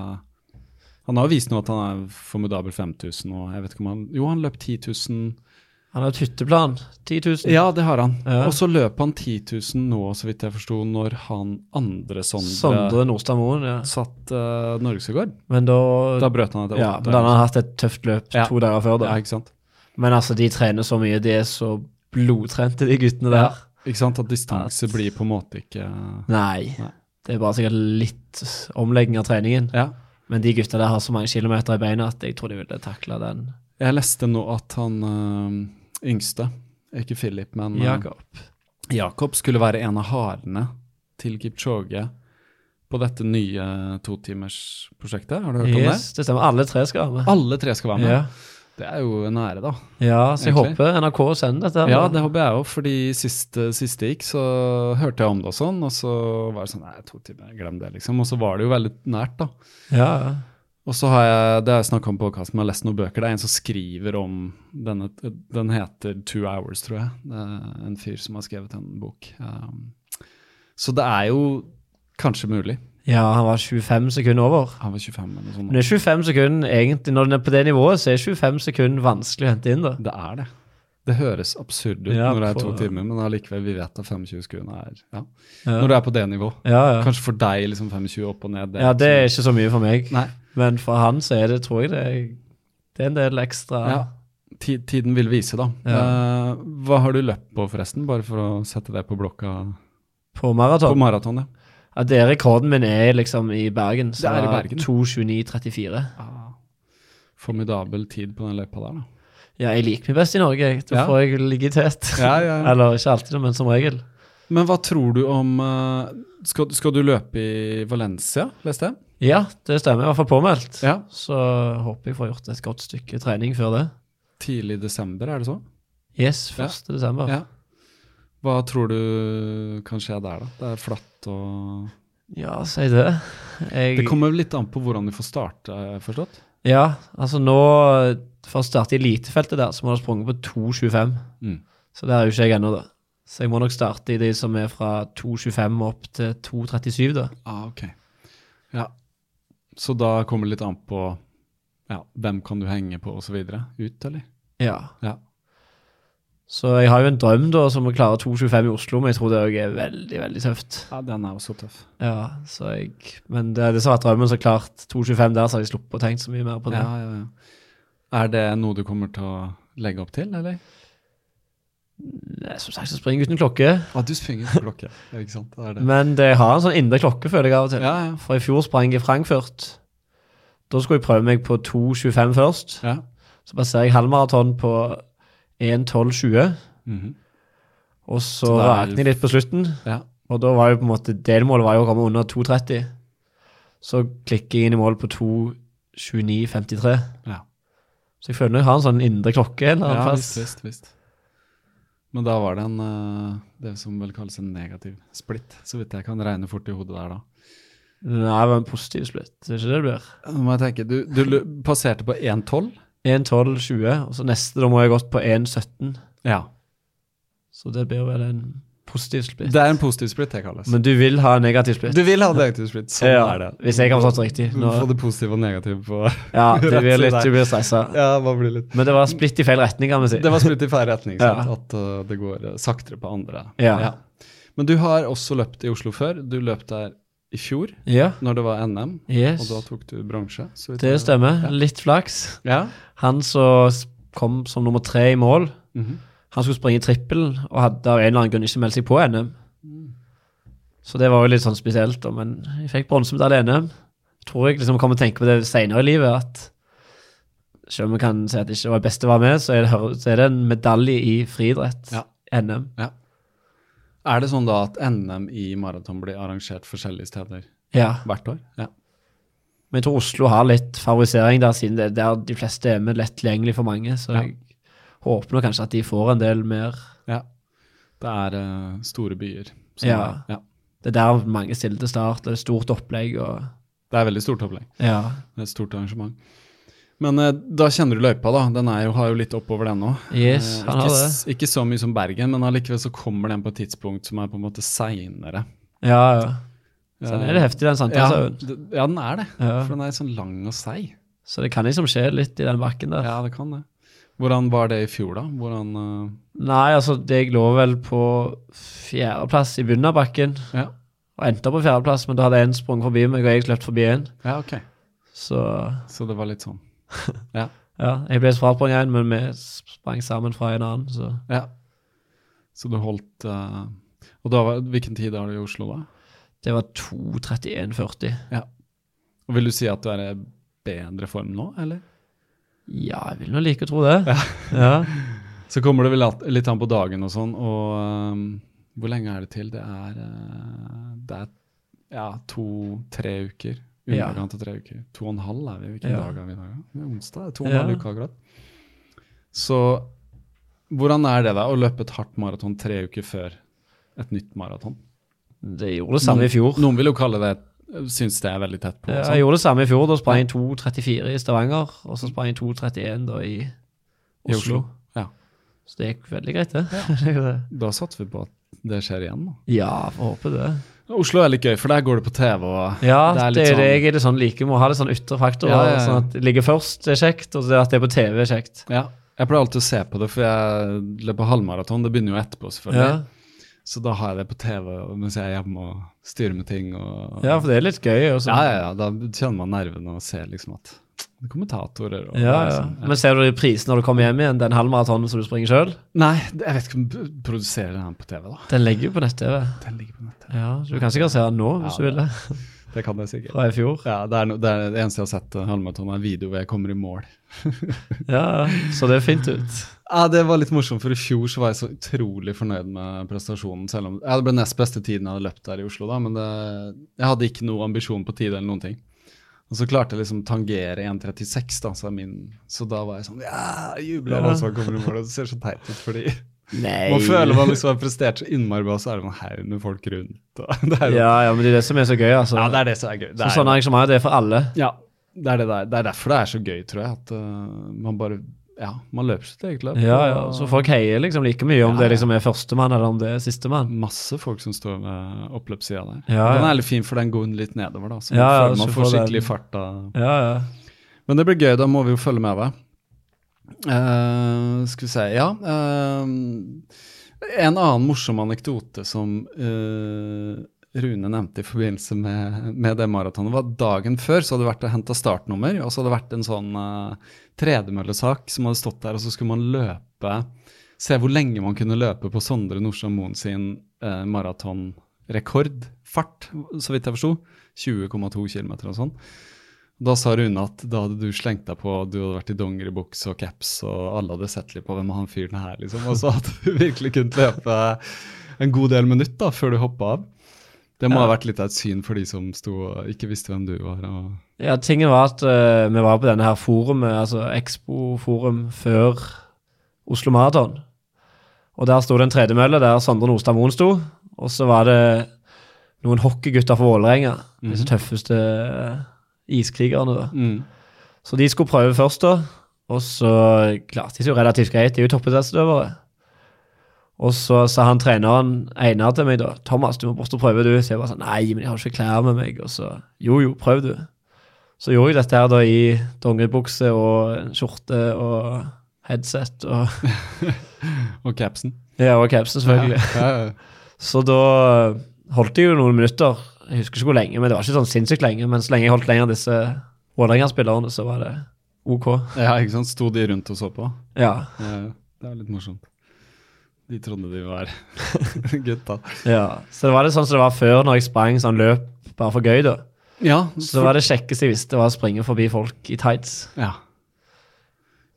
Han har jo vist nå at han er formidabel 5000, og jeg vet ikke om han Jo, han løp 10 000. Han har et hytteplan. 10 000. Ja, det har han. Ja. Og så løp han 10 000 nå, så vidt jeg forsto, når han andre Sondre, Sondre Nordstad Moen, ja. satt eh, norgesrekord. Men da, Da brøt han etter ja, men da har han hatt et tøft løp Ja. to dager før. da. Ja, ikke sant? Men altså, de trener så mye. De er så blodtrente, de guttene der. Ikke sant? At distanse At- blir på en måte ikke Nei. Nei. Det er bare sikkert litt omlegging av treningen. Ja. Men de gutta der har så mange kilometer i beina at jeg tror de ville takla den. Jeg leste nå at han øh, yngste, ikke Philip, men øh, Jakob. Jakob skulle være en av harene til Kipchoge på dette nye totimersprosjektet. Har du hørt Ah. Yes, det stemmer. Alle tre skal være om det? med. Alle tre skal være med. Ja. Det er jo en ære, da. Ja, så jeg Egentlig. håper NRK sender dette. her, Ja, da. det håper jeg òg, fordi sist eh, sist det gikk, så hørte jeg om det og sånn, og så var det sånn Nei, to timer, glem det, liksom. Og så var det jo veldig nært, da. ja, ja. Og så har jeg det har jeg snakket om på podcasten, men jeg har lest noen bøker. Det er en som skriver om denne Den heter Two Hours, tror jeg. Det er en fyr som har skrevet en bok. Um, så det er jo kanskje mulig. ja, han var 25 sekunder over. Han var 25 eller noe Men det sånt. er 25 sekunder, egentlig, når den er på det nivået, så er 25 sekunder vanskelig å hente inn. da. Det er det. Det høres absurd ut Ja, når det er to for- timer, men allikevel, vi vet at 25 sekunder er ja. Ja. Når du er på det nivå. Ja, ja. Kanskje for deg liksom 25 opp og ned. ja, det er ikke så mye for meg. sånn. Nei. Men for han så er det, tror jeg, det er, det er en del ekstra. Ja. Ti- Tiden vil vise, da. Eh, hva har du løpt på, forresten? Bare for å sette det på blokka. På På maraton. maraton, ja. Ja, det er rekorden min er liksom i Bergen. Så Det er i Bergen. 2.29,34. formidabel tid på den løypa der, da. Ja, jeg liker meg best i Norge. jeg. Da Ja. får jeg ligge i tet. Ja, ja, ja. Eller ikke alltid, men som regel. Men hva tror du om eh, skal, skal du løpe i Valencia, leste jeg? Ja, det stemmer. I hvert fall påmeldt. Ja. Så håper jeg får gjort et godt stykke trening før det. Tidlig i desember, er det så? Yes, Ja. 1. desember. Ja. Hva tror du kan skje der, da? Det er flatt og Ja, si det. Jeg, Det kommer vel litt an på hvordan du får starte, har jeg forstått? Ja, altså nå For å starte i elitefeltet der, så må du ha sprunget på 2,25. Mm. Så der er jo ikke jeg ennå, da. Så jeg må nok starte i de som er fra 2,25 opp til 2,37, da. Ah, ok. Ja. Så da kommer det litt an på ja, hvem kan du henge på, osv. Ut, eller? Ja. Ja. Så jeg har jo en drøm da som å klare 2,25 i Oslo, men jeg tror det òg er veldig, veldig tøft. ja, den er jo så tøff. Ja, så jeg Men det er det som har vært drømmen, så klart. 2,25 der, så har jeg sluppet å tenke så mye mer på det. Ja, ja, ja. Er det noe du kommer til å legge opp til, eller? Nei, eh, Som sagt, så springer jeg uten klokke. Ja, du springer på klokke. Ja, ikke sant? Det er det. Men det har en sånn indre klokke, føler jeg av og til. Ja, ja. For i fjor sprang jeg i Frankfurt. Da skulle jeg prøve meg på 2,25 først. ja. Så passerer jeg halvmaraton på 1,12,20. Mhm. Og så, Så det er vel- rakner jeg litt på slutten. ja. Og da var jo på en måte delmålet var jo å komme under 2,30. Så klikker jeg inn i mål på 2,29,53. Ja. Så jeg føler jeg har en sånn indre klokke. Eller ja ja, visst, visst, visst. Men da var det en eh, det som vel kalles en negativ splitt, så vidt jeg kan regne fort i hodet der da. Nei, det var en positiv splitt. Det er ikke det det blir. Nå må jeg tenke, du, du lu- passerte på 1,12? 1,12,20. Og så neste, da må jeg gått på 1,17. Ja. Så det blir vel en positiv splitt. Det er en positiv splitt, det kalles. Men du vil ha en negativ splitt? du vil ha negativ splitt, sånn ja, er det. Hvis jeg har forstått det riktig. Du Nå, får det positive og negative på ja, du rett blir til litt, deg. du blir stressa. Ja, hva blir litt Men det var splitt i feil retning, kan vi si. Det var splitt i feil retning, sant? Ja. at eh, det går eh, saktere på andre. Ja. Men du har også løpt i Oslo før. Du løp der i fjor, Ja, når det var NM, yes. og da tok du bronse. så vidt Det jeg- stemmer. Litt flaks. Ja. Han som s- kom som nummer tre i mål, Mhm. han skulle springe trippel og hadde av en eller annen grunn ikke meldt seg på NM. Mm. Så det var jo litt sånn spesielt, da, men jeg fikk bronsemedalje i NM. Tror jeg liksom kommer til å tenke på det senere i livet, at selv om jeg kan si at det ikke var best å være med, så er det, hø- så er det en medalje i friidrett. Ja. NM. Er det sånn da at NM i maraton blir arrangert forskjellige steder Ja. hvert år? Ja. Men jeg tror Oslo har litt favorisering der, siden det er der de fleste er med lett tilgjengelig for mange. Så Ja. jeg håper nå kanskje at de får en del mer ja. Det er eh, store byer. som Ja. er- ja. Det er der mange stiller til start, og det er stort opplegg og Det er veldig stort opplegg. Ja. Det er et stort arrangement. Men eh, da kjenner du løypa, da. Den er jo, har jo litt oppover, den nå. Yes, Eh, han ikke, har s- ikke så mye som Bergen, men allikevel så kommer den på et tidspunkt som er på en måte seinere. Ja, ja. Så den er det heftig, den Ja, Sankthanshaugen. d- ja, den er det. Ja. For den er sånn lang og seig. Så det kan liksom skje litt i den bakken der. Ja, det kan det. Hvordan var det i fjor, da? Hvordan eh, Nei, altså, jeg lå vel på fjerdeplass i bunnen av bakken, Ja, og endte opp på fjerdeplass, men da hadde én sprunget forbi meg, og jeg løpt forbi en. ja ok. Så Så det var litt sånn. ja, jeg ble frasprunget en, men vi sprang sammen fra en annen, så Ja. Så du holdt eh, Og da var, hvilken tid har du i Oslo, da? det var 2.31,40. Og vil du si at du er i bedre form nå, eller? Ja, jeg vil nå like å tro det. Ja. Så kommer det vel at- litt an på dagen og sånn, og eh, hvor lenge er det til? Det er, eh, det er ja, to-tre uker. Ja. Underkant av tre uker. To og en halv er vi. Hvilken Ja. dag er vi i dag? da? Det er onsdag. Det er To og en Ja. halv uke akkurat. Så hvordan er det da å løpe et hardt maraton tre uker før et nytt maraton? Det gjorde det samme i fjor. Noen vil jo kalle det Syns det er veldig tett på. Ja, sånn. jeg gjorde det samme i fjor. Da sprang jeg 2.34 i Stavanger, og så sprang jeg 2.31 da i Oslo. I Oslo. Ja. Så det gikk veldig greit, det. Ja, Da satser vi på at det skjer igjen. Da. får håpe det. Oslo er litt gøy, for der går det på TV. og Ja, det er, litt det, jeg er det sånn like må ha litt sånn ytre faktorer. Ja, ja, ja. Sånn at det ligger først det er kjekt, og det at det er på TV er kjekt. Ja, Jeg pleier alltid å se på det, for jeg løper halvmaraton. Det begynner jo Ja. etterpå, selvfølgelig. Så da har jeg det på TV mens jeg er hjemme og styrer med ting. Og, ja, for det er litt gøy. altså. Også. ja, ja, ja, Da kjenner man nervene og ser liksom at det er kommentatorer og Ja, ja. sånn. Men ser du de prisene når du kommer hjem igjen, den halvmaratonen som du springer sjøl? Nei, jeg vet ikke om de produserer den på TV, da. Den ligger jo på nett-TV. Den ligger på nettet. Ja, så du kan sikkert se den nå, hvis Ja, du vil det. Det kan jeg sikkert. Fra i fjor. Ja, det, er no, det, er det eneste jeg har sett eh, halvmaraton, er en video hvor jeg kommer i mål. Ja, så det er fint ut. Ja, Det var litt morsomt, for i fjor så var jeg så utrolig fornøyd med prestasjonen. selv om ja, Det ble nest beste tiden jeg hadde løpt der i Oslo, da, men det, jeg hadde ikke noe ambisjon på tide eller noen ting. Og så klarte jeg liksom tangere 1.36, da, så, er min, så da var jeg sånn Ja! Jubla og så kommer i mål, og det ser så teit ut, fordi Nei. man føler man liksom har prestert så innmari bra, så er det en haug med folk rundt. Og det er jo, ja. Ja, ja, men det er det som er så gøy, altså. det er det som er gøy. Det så er, sånne arrangementer det er for alle. ja, det er, det, der. det er derfor det er så gøy, tror jeg, at øh, man bare Ja, man løper sitt eget løp. Ja, ja. og- Så folk heier liksom like mye om Ja, det ja. liksom er førstemann, eller om det er sistemann. masse folk som står ved oppløpssida der. Ja, Den ja. er litt fin, for den går litt nedover, da. Så Ja, ja, man, føler så man får får den- skikkelig fart da. Ja, ja. Men det blir gøy, da må vi jo følge med deg. Eh, skal vi se, ja. eh, en annen morsom anekdote som eh, Rune nevnte i forbindelse med, med det maratonet, var at dagen før så hadde det vært og henta startnummer, og så hadde det vært en sånn eh, tredemøllesak som hadde stått der, og så skulle man løpe Se hvor lenge man kunne løpe på Sondre Nordstrand Moen sin eh, maratonrekordfart, så vidt jeg forsto. 20,2 km og sånn. Da sa Rune at da hadde du slengt deg på, du hadde vært i dongeribuks og caps, og alle hadde sett litt på hvem er han fyren her, liksom. Og så hadde du virkelig kunnet løpe en god del minutt da, før du hoppa av. Det må ha vært litt av et syn for de som sto og ikke visste hvem du var. og... Ja, tingen var at eh, vi var på denne her forumet, altså Expo-forum før Oslo Marathon. Og der sto det en tredemølle der Sondre Nordstad Moen sto. Og så var det noen hockeygutter fra Vålerenga, Mhm. disse tøffeste eh, iskrigerne. da. Mm. Så de skulle prøve først, da. Og så klarte de seg jo relativt greit, de er jo toppidrettsutøvere. Og så sa han treneren Einar til meg da, 'Thomas, du må bort og prøve, du.' Så jeg bare sånn 'Nei, men jeg har ikke klær med meg.' Og så 'Jo, jo, prøv, du'. Så gjorde jeg dette her da i dongeribukse og en skjorte og headset og Og capsen. Ja, og capsen, selvfølgelig. Ja, ja, ja. Så da holdt jeg jo noen minutter. Jeg husker ikke hvor lenge, men det var ikke sånn sinnssykt lenge. Men så lenge jeg holdt lenger enn disse Vålerenga-spillerne, så var det OK. Ja, ikke sant? Sto de rundt og så på? Ja, Ja, ja. det er litt morsomt. De trodde de var gutta. ja. Så det var litt sånn som det var før, når jeg sprang sånn løp bare for gøy, da. Ja, Så var det kjekkeste jeg visste, var å springe forbi folk i tights ja.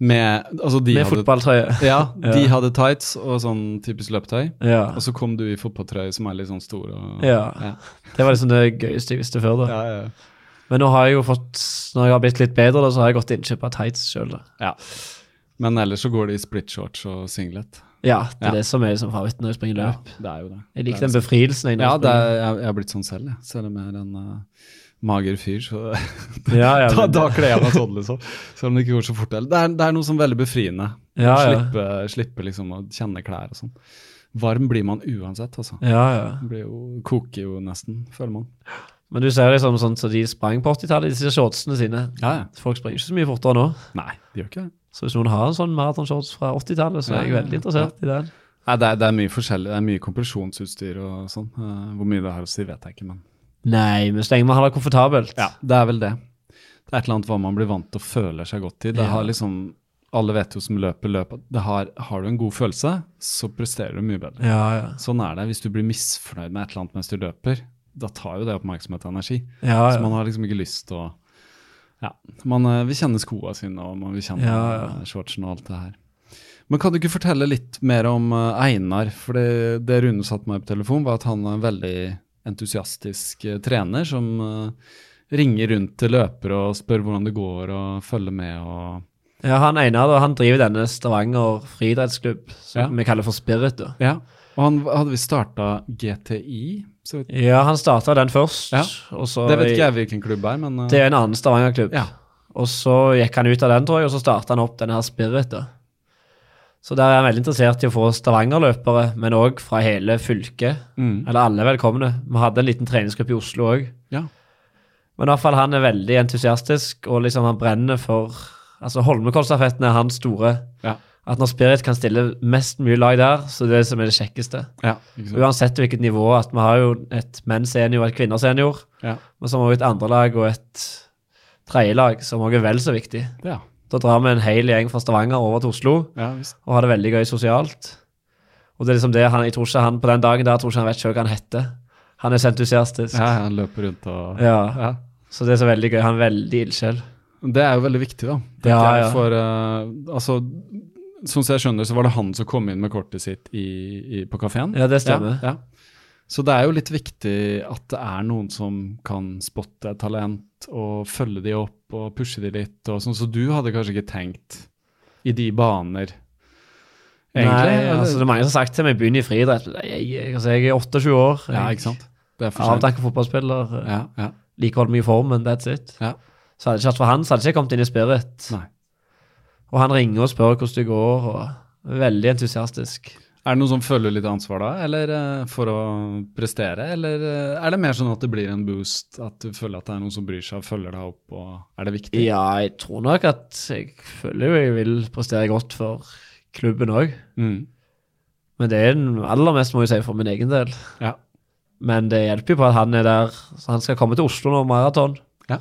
Med, altså de med hadde, fotballtrøye. Ja, de Ja. hadde tights og sånn typisk løpetøy. Ja. Og så kom du i fotballtrøye som er litt sånn stor. Og, ja. Ja. Det var liksom det gøyeste jeg visste før, da. Ja, ja. Men nå har jeg jo fått, når jeg har blitt litt bedre, da, så har jeg gått til innkjøp av tights sjøl, da. ja. Men ellers så går det i split shorts og singlet. Ja, det er Ja. det som er liksom favoritten når jeg springer løp. det er jo det. Jeg liker Det er den befrielsen. Jeg når Ja, jeg det springer. er, jeg, jeg har blitt sånn selv, jeg. selv om jeg er en eh, mager fyr. Så Ja, ja, da, men- da kler jeg meg sånn, liksom. Selv om det ikke går så fort. heller. Det er, det er noe sånn veldig befriende. Ja, ja. Slippe, slippe liksom å kjenne klær og sånn. Varm blir man uansett, altså. ja, ja. Man Blir jo, koker jo nesten, føler man. Men du ser liksom sånn som de sprang på 80-tallet, disse shortsene sine. Ja, ja. Folk springer ikke så mye fortere nå. Nei, det gjør ikke det. Så hvis noen har en sånn maratonshorts fra 80-tallet, så er jeg Ja, ja, veldig interessert i den. Nei, det er, det er mye forskjellig. Det er mye kompresjonsutstyr og sånn. Eh, hvor mye det har å si, vet jeg ikke, men Nei, men så lenge man har det komfortabelt. Ja, det er vel det. Det er et eller annet hva man blir vant til og føler seg godt i. Det har liksom, Alle vet jo som løper løp at det har, har du en god følelse, så presterer du mye bedre. Ja, ja. Sånn er det. Hvis du blir misfornøyd med et eller annet mens du løper, da tar jo det oppmerksomhet og energi. ja, Så ja. man har liksom ikke lyst til å ja, Man eh, vil kjenne skoene sine, og man vil kjenne Ja, ja. eh, shortsen og alt det her. Men kan du ikke fortelle litt mer om eh, Einar? For det, det Rune satte meg på telefon, var at han er en veldig entusiastisk eh, trener som eh, ringer rundt til løpere og spør hvordan det går, og følger med og ja han Einar da, han driver denne Stavanger friidrettsklubb, som Ja. vi kaller for Spirit. da. Ja. Og han hadde visst starta GTI? Så vidt- Ja, han starta den først. Ja. Og så det vet ikke jeg hvilken klubb er, men eh, Det er en annen Stavanger-klubb. Ja. Og så gikk han ut av den, tror jeg, og så starta han opp denne her Spirit. da. Så der er han veldig interessert i å få Stavanger-løpere, men òg fra hele fylket. Mm. Eller alle er velkomne. Vi hadde en liten treningsgruppe i Oslo òg. Ja. Men i hvert fall han er veldig entusiastisk, og liksom han brenner for Altså Holmenkollstafetten er hans store. Ja. At når Spirit kan stille mest mulig lag der, så det er det som er det kjekkeste. ja, ikke sant? Uansett hvilket nivå, at vi har jo et menn senior og et kvinner senior. Ja. Men så har vi et andrelag og et tredjelag, som også er vel så viktig. Ja. Da drar vi en hel gjeng fra Stavanger over til Oslo ja visst. og har det veldig gøy sosialt. Og det er liksom det han, jeg tror ikke han på den dagen der, jeg tror ikke han vet selv hva han heter. Han er så entusiastisk. Ja, han løper rundt og Ja. ja. Så det er så veldig gøy. Han er veldig ildsjel. Det er jo veldig viktig, da. Det Ja, er ja. For, eh, altså, sånn som jeg skjønner, så var det han som kom inn med kortet sitt i, i, på kafeen. Ja, det stemmer. Ja, ja. Så det er jo litt viktig at det er noen som kan spotte et talent, og følge de opp og pushe de litt. Og sånn, så du hadde kanskje ikke tenkt i de baner, egentlig? Nei, altså, det er mange som har sagt til meg, begynn i friidrett. Jeg, jeg, altså, jeg er 28 år. ja, ikke sant? Det er for sent. Avdanket fotballspiller. Ja, ja, Liker å holde meg i formen, that's it. ja. Så hadde det ikke vært for han, så hadde jeg ikke kommet inn i Spirit. Nei. Og han ringer og spør hvordan det går, og veldig entusiastisk. Er det noen som føler litt ansvar da, eller eh, for å prestere? Eller eh, er det mer sånn at det blir en boost, at du føler at det er noen som bryr seg og følger deg opp? og Er det viktig? Ja, jeg tror nok at jeg føler jo jeg vil prestere godt for klubben òg. Mm. Men det er den aller mest, må jeg si, for min egen del. Ja. Men det hjelper jo på at han er der, så han skal komme til Oslo nå, maraton. Ja.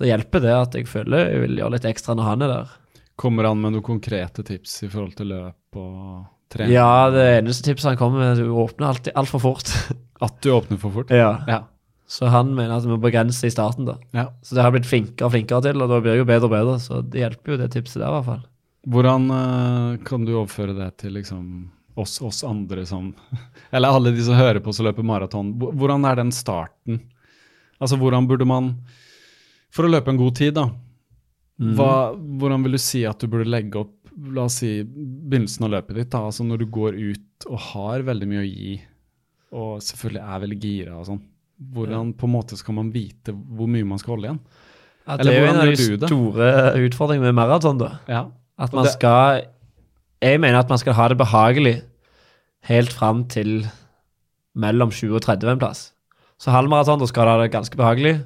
Så hjelper det at jeg føler jeg vil gjøre litt ekstra når han er der. Kommer han med noen konkrete tips i forhold til løp og trening? Ja, det eneste tipset han kommer med, er at du åpner alltid altfor fort. At du åpner for fort? Ja. Ja. Så han mener at vi må begrense i starten, da. ja. Så det har jeg blitt flinkere og flinkere til, og da blir jeg jo bedre og bedre. Så det hjelper jo det tipset der, i hvert fall. Hvordan eh, kan du overføre det til liksom oss, oss andre som Eller alle de som hører på som løper maraton. Hvor- Hvordan er den starten? Altså, hvordan burde man For å løpe en god tid, da. Hva, hvordan vil du si at du burde legge opp la oss si, begynnelsen av løpet ditt? da, altså Når du går ut og har veldig mye å gi, og selvfølgelig er veldig gira og sånn. Hvordan på en måte skal man vite hvor mye man skal holde igjen? Ja, det Eller er jo en hvordan av gjør de du det? store utfordringene med maraton, da. Ja, At Og man det- skal Jeg mener at man skal ha det behagelig helt fram til mellom 20 og 30 en plass. Så halvmaraton, da skal du ha det ganske behagelig.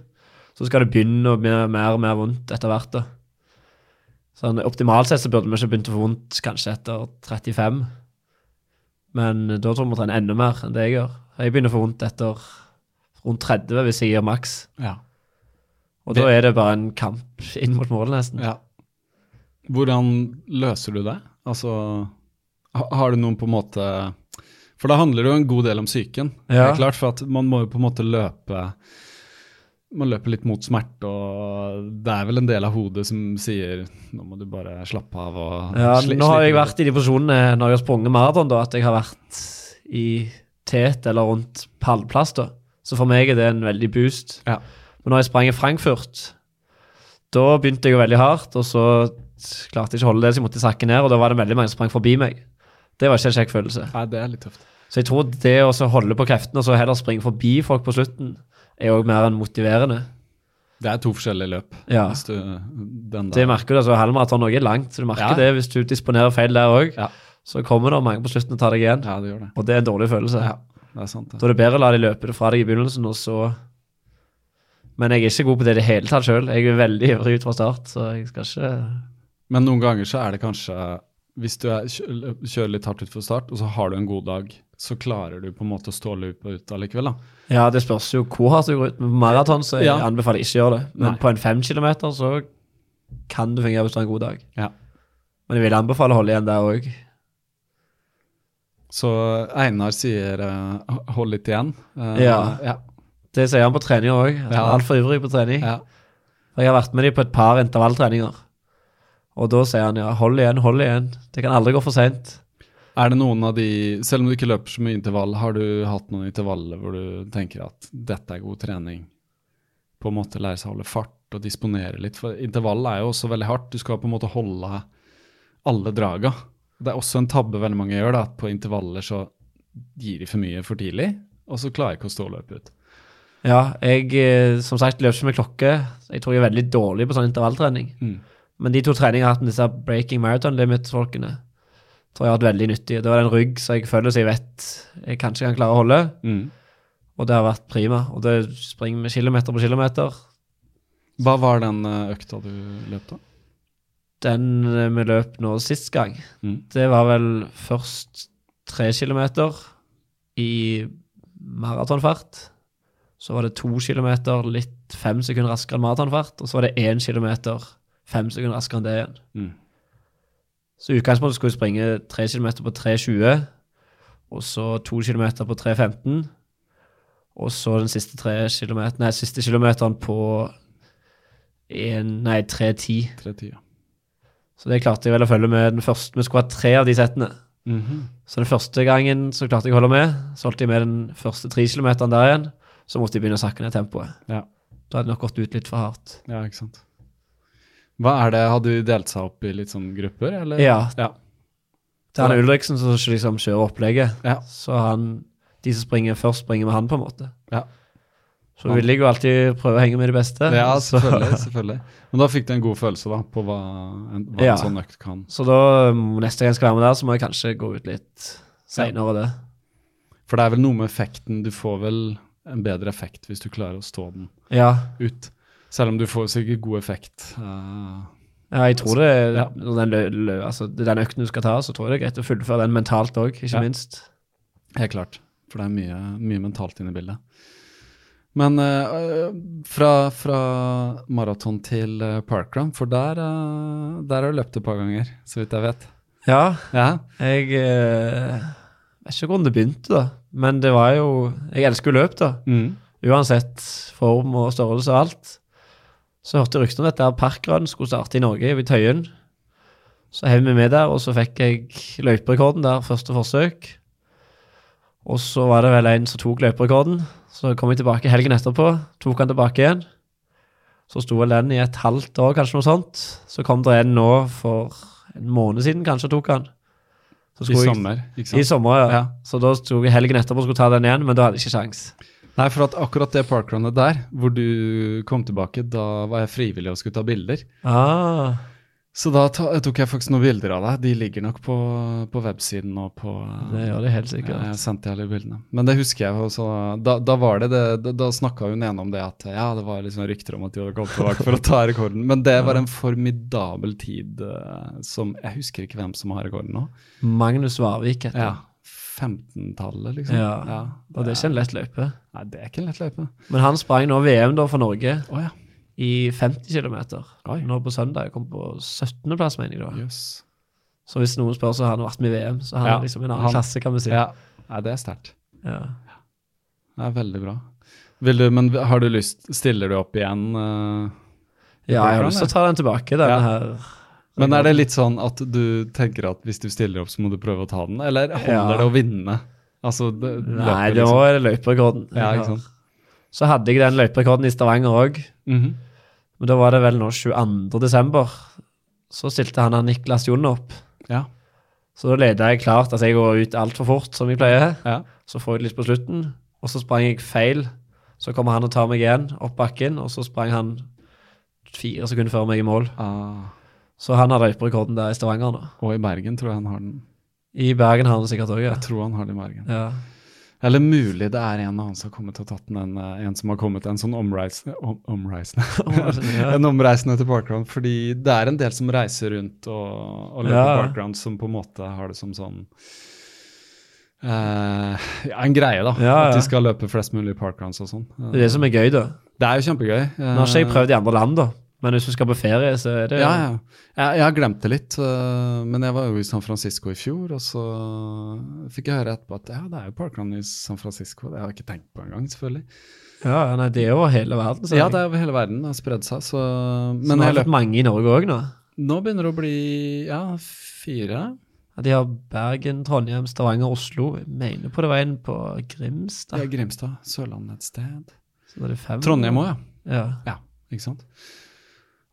Så skal det begynne å bli mer og mer vondt etter hvert. da. Sånn, Optimalt sett så burde vi ikke begynt å få vondt kanskje etter 35. Men da tror jeg vi må trene enda mer enn det jeg gjør. Jeg begynner å få vondt etter rundt 30 hvis jeg gir maks. ja. Og Det- da er det bare en kamp inn mot målet, nesten. Ja. Hvordan løser du det? Altså, ha, har du noen på en måte For da handler det jo en god del om psyken. Det Ja. er klart, for at man må jo på en måte løpe Man løper litt mot smerte, og det er vel en del av hodet som sier 'nå må du bare slappe av' og Ja, sli- nå har slite jeg litt». vært i de posisjonene når jeg har sprunget maraton, da, at jeg har vært i tet eller rundt pallplass, da. Så for meg er det en veldig boost. Ja. Men når jeg sprang i Frankfurt, da begynte jeg jo veldig hardt, og så klarte jeg ikke å holde det, så jeg måtte sakke ned, og da var det veldig mange som sprang forbi meg. Det var ikke en kjekk følelse. Nei, det er litt tøft. Så jeg tror det å så holde på kreftene og så heller springe forbi folk på slutten, er òg mer enn motiverende. Det er to forskjellige løp. Ja. Hvis du, den Det der. merker du, altså halvmaraton også er langt, så du merker Ja. det hvis du disponerer feil der òg. Ja. Så kommer det mange på slutten og tar deg igjen. Ja, det gjør det. Og det er en dårlig følelse. Ja, det er sant. Da Det. er det bedre å la de løpe det fra deg i begynnelsen, og så Men jeg er ikke god på det i det hele tatt sjøl. Jeg er veldig ivrig ut fra start, så jeg skal ikke Men noen ganger så er det kanskje Hvis du er, kjø- kjører litt hardt ut for start, og så har du en god dag, så klarer du på en måte å stå løypa ut allikevel, da. Ja, det spørs jo hvor hardt du går ut. Men på maraton så jeg Ja. anbefaler jeg ikke å gjøre det. Men Nei. på en fem kilometer så kan det fungere hvis du har en god dag. Ja. Men jeg vil anbefale å holde igjen der òg. Så Einar sier eh, h- hold litt igjen. Eh, Ja. ja. Det sier han på trening òg. Han er Ja. altfor ivrig på trening. ja. Og Jeg har vært med dem på et par intervalltreninger. Og da sier han ja, hold igjen, hold igjen. Det kan aldri gå for seint. Er det noen av de, selv om du ikke løper så mye intervall, har du hatt noen intervaller hvor du tenker at dette er god trening? På en måte lære seg å holde fart og disponere litt. For intervall er jo også veldig hardt. Du skal på en måte holde alle draga. Det er også en tabbe veldig mange gjør, da, at på intervaller så gir de for mye for tidlig, og så klarer jeg ikke å stå og løpe ut. Ja, jeg eh, som sagt løper ikke med klokke. Jeg tror jeg er veldig dårlig på sånn intervalltrening. Mm. Men de to treningene jeg har hatt med disse Breaking Marathon Limits-folkene, tror jeg har vært veldig nyttige. Det var en rygg som jeg føler så jeg vet jeg kanskje kan klare å holde, og det har vært prima. Og det springer vi kilometer på kilometer. Hva var den eh, økta du løp da? Den eh, vi løp nå sist gang, Mm. det var vel først tre kilometer i maratonfart. Så var det to kilometer litt fem sekunder raskere enn maratonfart, og så var det én kilometer fem sekunder raskere enn det igjen. Mm. Så i utgangspunktet skulle jeg springe tre kilometer på 3,20, og så to kilometer på 3,15, og så den siste, tre kilometer, nei, siste kilometeren på en, nei, 3,10. 3.10, ja. Så det klarte jeg vel å følge med den første. Vi skulle ha tre av de settene. Så den første gangen så klarte jeg å holde med. Så holdt jeg med den første tre kilometeren der igjen. Så måtte jeg begynne å sakke ned tempoet. Ja. Da hadde det nok gått ut litt for hardt. Ja, ikke sant. Hva er det, Har du delt seg opp i litt sånn grupper, eller? Ja. Ja, Til han Ulriksen som liksom kjører opplegget, Ja. så han, de som springer først, springer med han på en måte. Ja. Så vil jeg jo alltid prøve å henge med de beste. ja så, selvfølgelig. selvfølgelig. Men da fikk du en god følelse da, på hva en, hva Ja. en sånn økt kan. så da, um, neste gang jeg skal være med der, så må jeg kanskje gå ut litt seinere, det. For det er vel noe med effekten. Du får vel en bedre effekt hvis du klarer å stå den Ja. ut. Selv om du får sikkert god effekt. eh, Altså, ja, jeg tror det er Ja. når den, lø- lø- altså, det er den økten du skal ta, så tror jeg det er greit å fullføre den mentalt òg, ikke Ja. minst. Helt klart. For det er mye, mye mentalt inne i bildet. Men eh, Fra, fra maraton til eh, parkrun, for der, eh, der har du løpt et par ganger, så vidt jeg vet. Ja, Ja, jeg eh, vet ikke hvordan det begynte, da. Men det var jo Jeg elsker jo løp, da. mm. Uansett form og størrelse og alt. Så hørte jeg ryktene om dette her parkrun skulle starte i Norge, ved Tøyen. Så hev vi med der, og så fikk jeg løyperekorden der første forsøk. Og så var det vel en som tok løyperekorden. Så kom jeg tilbake helgen etterpå, tok han tilbake igjen. Så sto vel den i et halvt år, kanskje noe sånt. Så kom det en nå for en måned siden, kanskje tok han. Så I skulle jeg- sommer, ikke I sant? sommer, ja. Ja. Så da sto jeg helgen etterpå og skulle ta den igjen, men da hadde jeg ikke sjans. Nei, for at akkurat det parkrunet der, hvor du kom tilbake, da var jeg frivillig og skulle ta bilder. Ah. Så da ta, tok jeg faktisk noen bilder av deg. De ligger nok på, på websiden og på Det gjør det helt sikkert. Ja, jeg sendte alle bildene. Men det husker jeg, og så- da, da var det det, da, da snakka hun ene om det at ja, det var liksom rykter om at de hadde kommet tilbake for å ta rekorden. Men det var en formidabel tid eh, som Jeg husker ikke hvem som har rekorden nå. Magnus Varvik heter Ja, han. 15-tallet, liksom. Ja. Og det er ikke en lett løype. Nei, det er ikke en lett løype. Men han sprang nå VM da for Norge Å ja. i 50 km. Oi. Nå på søndag. Kom på 17.-plass, mener jeg. da. Jøss. Så hvis noen spør, så har han vært med i VM. Så han Ja, er liksom en annen han- klasse, kan vi si. Ja. Nei, det er sterkt. Ja. Det er veldig bra. Vil du, men har du lyst Stiller du opp igjen? eh? Ja, jeg har lyst til å ta den tilbake, denne Ja. her. Men er det litt sånn at du tenker at hvis du stiller opp, så må du prøve å ta den, eller holder Ja. det å vinne? Altså, det, Nei, løpet det liksom. var løyperekorden. Ja, Jeg ikke har- sant. Så hadde jeg den løyperekorden i Stavanger òg. Mhm. Men da var det vel nå 22. desember. Så stilte han han Niklas Jonn opp. Ja. Så da leda jeg klart. Altså, jeg går ut altfor fort, som jeg pleier. Ja. Så får jeg det litt på slutten, og så sprang jeg feil. Så kommer han og tar meg igjen opp bakken, og så sprang han fire sekunder før meg i mål. Ah, Så han har løyperekorden der i Stavanger nå. og i Bergen tror jeg han har den. I Bergen har han sikkert òg, ja. Jeg tror han har den i Bergen. ja. Eller mulig det er en av han som har kommet og tatt den, en, eh, en som har kommet en sånn omreisende, om, omreisende. Ja. en omreisende til parkrun, fordi det er en del som reiser rundt og, og løper Ja. parkrun, som på en måte har det som sånn eh, ja, en greie, da. Ja, At ja. de skal løpe flest mulig parkruns og sånn. Det er det som er gøy, da. Det er jo kjempegøy. Eh, Nå har ikke jeg prøvd i andre land, da. Men hvis du skal på ferie, så er det Ja, ja. Jeg, jeg har glemt det litt, øh, men jeg var jo i San Francisco i fjor, og så fikk jeg høre etterpå at ja, det er jo parkrun i San Francisco. Det har jeg ikke tenkt på engang, selvfølgelig. ja nei, det er jo hele verden. Ja, det er over hele verden, det har spredd seg, så Men Men nå har jeg jeg fått løp, mange i Norge òg nå. nå begynner det å bli ja, fire. Ja, De har Bergen, Trondheim, Stavanger, Oslo. Jeg mener på det var en på Det Grimstad. er Grimstad, Sørlandet et sted. Så da er det fem. Trondheim òg, ja. ja. Ja, ikke sant?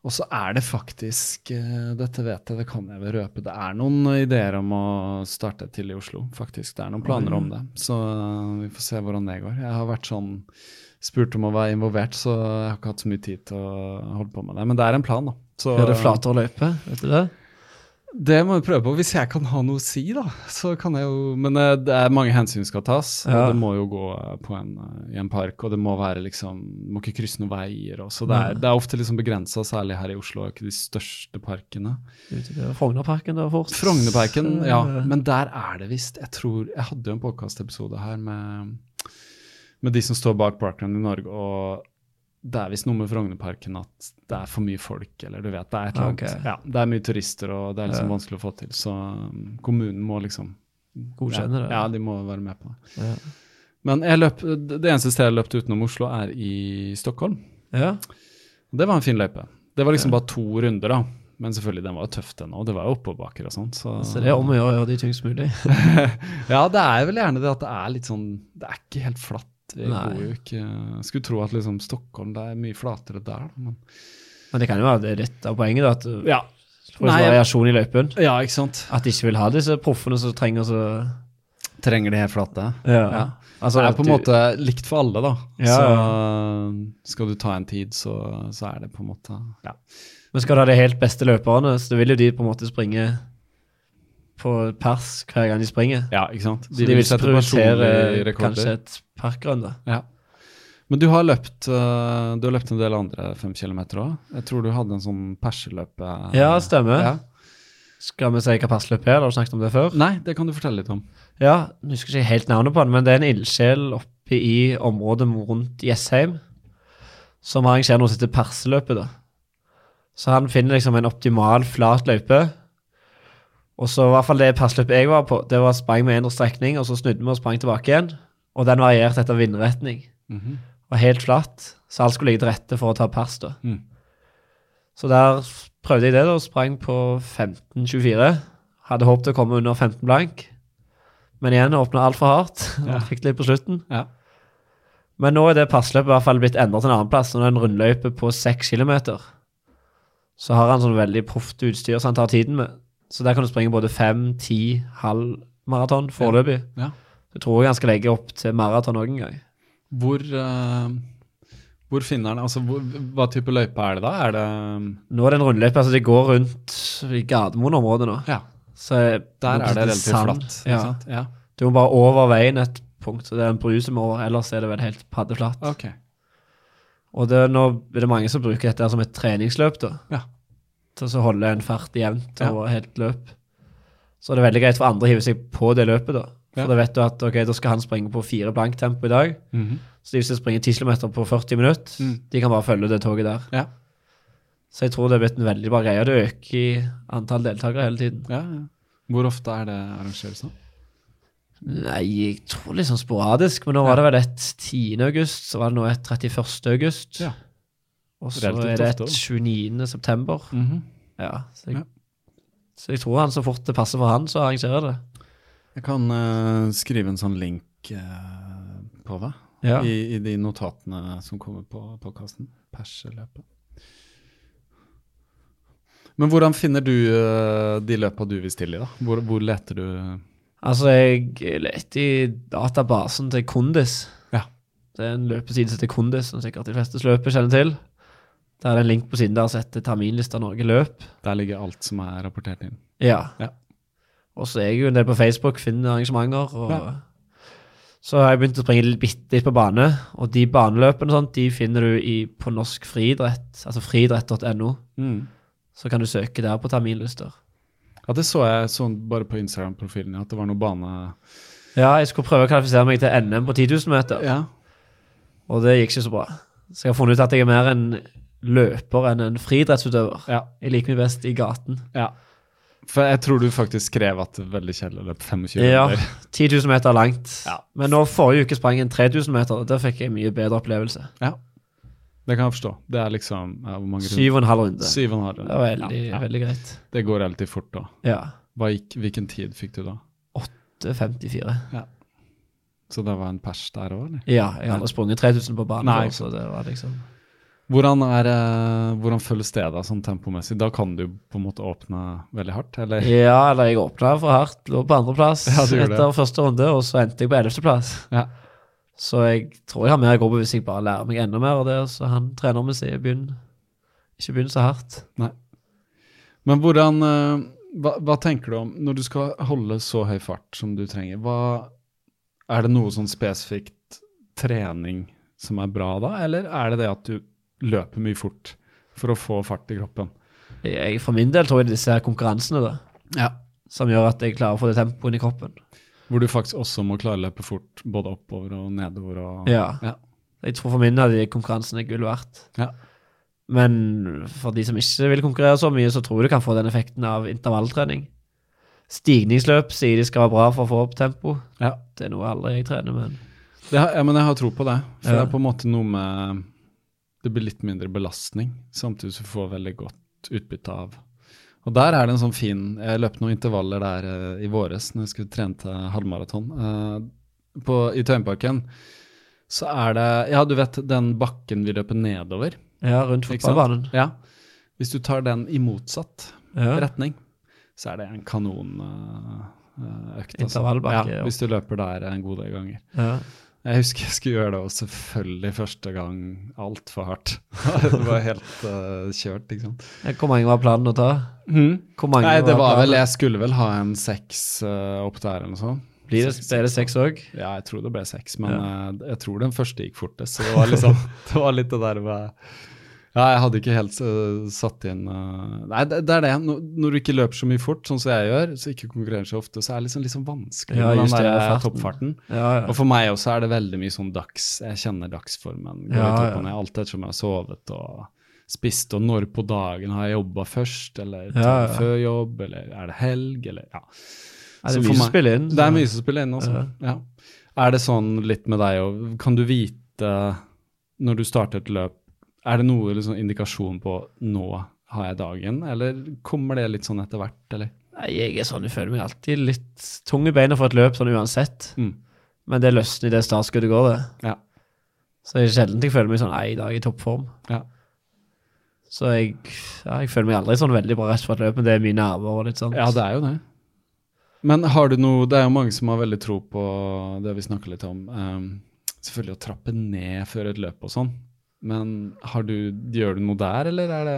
Og så er det faktisk eh, Dette vet jeg, det kan jeg vel røpe. Det er noen ideer om å starte til i Oslo, faktisk. Det er noen planer Mm. om det. Så eh, vi får se hvordan det går. Jeg har vært sånn spurt om å være involvert, så jeg har ikke hatt så mye tid til å holde på med det. Men det er en plan, da. Så Er det flatere løype? Vet du det? det må vi prøve på. Hvis jeg kan ha noe å si, da, så kan jeg jo Men eh, det er mange hensyn skal tas. og Ja. Det må jo gå eh, på en, eh, i en park, og det må være liksom Må ikke krysse noen veier og så det, er- Nei. det er ofte liksom begrensa, særlig her i Oslo, er ikke de største parkene. Ute ved Frognerparken da fort. Eh. Frognerparken, ja. Men der er det visst Jeg tror Jeg hadde jo en podkastepisode her med, med de som står bak Parkland i Norge, og det er visst noe med Frognerparken at det er for mye folk, eller du vet. Det er et eller annet. Ok. Ja, det er mye turister, og det er liksom Ja. vanskelig å få til. Så um, kommunen må liksom Godkjenner ja, det. Ja, de må være med på det. Ja. Men jeg løp, det eneste stedet jeg løpte utenom Oslo, er i Stockholm. Ja. Og Det var en fin løype. Det var liksom bare to runder, da. Men selvfølgelig, den var jo tøff, den òg. Det var jo oppoverbakker og sånn. Så, Så det er om å gjøre å gjøre de tyngst mulig. ja, det er vel gjerne det at det er litt sånn Det er ikke helt flatt. Jeg Nei. går jo ikke jeg Skulle tro at liksom Stockholm det er mye flatere der, da, men Men det kan jo være det er litt av poenget, da. At eh, du Ja, får Nei, Nei, jeg- variasjon i løypen. ja ikke sant? At de ikke vil ha disse proffene som trenger så Trenger de helt flate? Ja. Altså, det er at på en du- måte likt for alle, da. Ja, så skal du ta en tid, så, så er det på en måte Ja. Men skal du ha de helt beste løperne, så vil jo de på en måte springe på pers hver gang de springer. ja ikke sant? så de vil ikke prioritere personlige kanskje et parkrun, da. Ja. Men du har løpt eh, Du har løpt en del andre fem kilometer òg. Jeg tror du hadde en sånn perseløpe. Ja, stemmer. Ja. Skal vi si hva passløpet er? Har du snakket om det før? Nei, det kan du fortelle litt om. Ja, jeg husker ikke helt navnet på den, men det er en ildsjel oppe i området rundt Jessheim som arrangerer noe som heter perseløpet. da. Så han finner liksom en optimal flat løype. Og så i hvert fall det perseløpet jeg var på, det var sprang med en strekning, og så snudde vi og sprang tilbake igjen. Og den varierte etter vindretning. Og helt flatt, så alt skulle ligge til rette for å ta pers da. Mhm. Så der prøvde jeg det da, og sprang på 15,24. Hadde håpet å komme under 15 blank. Men igjen åpna altfor hardt. Ja. og Fikk det litt på slutten. Ja. Men nå er det passløpet i hvert fall blitt endret til en annen plass. Nå er det en rundløype på 6 km. Så har han sånn veldig proft utstyr som han tar tiden med. Så der kan du springe både 5, 10, halv maraton foreløpig. Ja. Jeg tror jeg han skal legge opp til maraton òg en gang. Hvor, eh, hvor finner han Altså, hvor, hva type løype er det da? Er det Nå er det en rundløype, altså det går rundt i Gardermoen-området nå. Ja, Så der er det litt relativt sand. flatt. ikke Ja. sant? ja. Du må bare over veien et punkt, så det er en bru som er over, ellers er det vel helt paddeflatt. Ok. Og det, nå er det mange som bruker dette her som et treningsløp, da. Ja. Til å så holde en fart jevnt Ja. over helt løp. Så det er veldig greit for andre å hive seg på det løpet, da. For Ja. da vet du at ok, da skal han springe på fire blank tempo i dag. Mhm. Så de som springer 10 km på 40 minutter, Mm. de kan bare følge det toget der. Ja. Så jeg tror det er blitt en veldig bra greie. og Det øker i antall deltakere hele tiden. ja, ja. Hvor ofte er det arrangeres nå? Nei, jeg tror litt sånn sporadisk, men nå var det vel et 10. august, så var det nå et 31. august. Ja. Og så Relativt er det et ofte også. 29. september. Mhm. Ja, så jeg, Ja. så jeg tror han så fort det passer for han, så arrangerer det. Jeg kan eh, skrive en sånn link eh, på det Ja. i, i de notatene som kommer på podkasten. Perseløpet. Men hvordan finner du eh, de løpa du vil stille i, da? Hvor, hvor leter du Altså, jeg lette i databasen til Kondis. Ja. Det er en løpeside som heter Kondis, som sikkert de fleste løpere kjenner til. Der er det en link på siden der som heter terminlista Norge løp. Der ligger alt som er rapportert inn. Ja. Ja. Og så er jeg jo en del på Facebook, finner arrangementer. Og Ja. Så har jeg begynt å springe litt- bitte litt på bane, og de baneløpene og sånt, de finner du i, på norsk friidrett, altså friidrett.no. Mm. Så kan du søke der på terminlister. Ja, det så jeg sånn bare på Instagram-profilen, at det var noe bane Ja, jeg skulle prøve å kvalifisere meg til NM på 10 000 meter. Ja, Og det gikk ikke så bra. Så jeg har funnet ut at jeg er mer en løper enn en friidrettsutøver. Ja. Jeg liker meg best i gaten. ja. For jeg tror du faktisk skrev at det er veldig kjedelig å løpe 25 Ja, meter. 10 000 meter langt. Ja. Men nå forrige uke sprang jeg en 3000 meter, og der fikk jeg en mye bedre opplevelse. Det kan jeg forstå. Det er liksom ja, hvor mange runder? Syv og en halv runde. Syv og en halv Det runde. var veldig, Ja, ja. veldig greit. Det går relativt fort da. Ja. Hva gikk, hvilken tid fikk du da? Det er 54. Så det var en pers der òg, eller? Ja, jeg har aldri sprunget 3000 på banen Nei. før, så det var liksom Hvordan, er, eh, hvordan føles det da, sånn tempomessig? Da kan du på en måte åpne veldig hardt, eller? Ja, eller jeg åpna for hardt, lå på andreplass Ja, du gjorde det. etter første runde, og så endte jeg på ellevteplass. Ja. Så jeg tror jeg har mer å gå på hvis jeg bare lærer meg enda mer av det. Så han treneren min sier begynn ikke begynn så hardt. Men hvordan eh, hva, hva tenker du om når du skal holde så høy fart som du trenger? Hva, er det noe sånn spesifikt trening som er bra da, eller er det det at du løper mye fort for å få fart i kroppen? Jeg, for min del tror jeg det er disse her konkurransene da, som gjør at jeg klarer å få det tempoet inn i kroppen. Hvor du faktisk også må klare å løpe fort både oppover og nedover og Ja. Ja. Jeg tror for min del de konkurransene er gull verdt. Ja. Men for de som ikke vil konkurrere så mye, så tror jeg du kan få den effekten av intervalltrening. Stigningsløp sier de skal være bra for å få opp tempo. Ja. Det er noe aldri jeg trener, men Det har, ja, men jeg har tro på det. For Ja. det er på en måte noe med Det blir litt mindre belastning, samtidig som du får veldig godt utbytte av Og der er det en sånn fin Jeg løp noen intervaller der eh, i våres når jeg skulle trene til halvmaraton. Eh, på, I Tøyenparken så er det Ja, du vet den bakken vi løper nedover? ja, rundt ikke sant? fotballbanen. Ja. Hvis du tar den i motsatt Ja. retning, så er det en eh, kanonøkt. Intervallbakke, altså. Ja, ja. hvis du løper der en god del ganger. Ja. Jeg husker jeg skulle gjøre det, og selvfølgelig første gang altfor hardt. det var helt eh, kjørt, ikke sant. Hvor mange var planen å ta? Hvor mange Mhm. Nei, det var vel planen? Jeg skulle vel ha en seks eh, opp der, eller noe sånt. Blir det, er det seks sånn. òg? Ja, jeg tror det ble seks, men eh, jeg tror den første gikk fortest. Så det var, liksom, det var litt det der med Ja, jeg hadde ikke helt eh, satt inn eh, Nei, det, det er det. Når, når du ikke løper så mye fort, sånn som jeg gjør, så ikke konkurrerer så ofte, så er det liksom, liksom vanskelig Ja, med just den det, der farten. toppfarten. Ja, Og for meg også er det veldig mye sånn dags Jeg kjenner dagsformen. Går Ja, litt opp ja. og ned, alt ettersom jeg har sovet og spist, og når på dagen har jeg jobba først, eller tar Ja, ja. jeg før jobb, eller er det helg, eller Ja. Er det Så mye for som meg- spiller inn? Det er mye som spiller inn også. Ja. Er det sånn litt med deg òg? Kan du vite når du starter et løp Er det noe liksom, indikasjon på nå har jeg dagen, eller kommer det litt sånn etter hvert, eller? Nei, jeg er sånn, jeg føler meg alltid litt tung i beina for et løp, sånn uansett. Mm. Men det løsner i det startskuddet går, det. Ja. Så det er sjelden jeg føler meg sånn, nei, i dag er jeg i toppform. Ja. Så jeg, ja, jeg føler meg aldri sånn veldig bra rett for et løp, men det er mye nerver og litt sånn. Ja, det er jo det. Men har du noe Det er jo mange som har veldig tro på det vi snakker litt om. ehm, selvfølgelig å trappe ned før et løp og sånn. Men har du, gjør du noe der, eller er det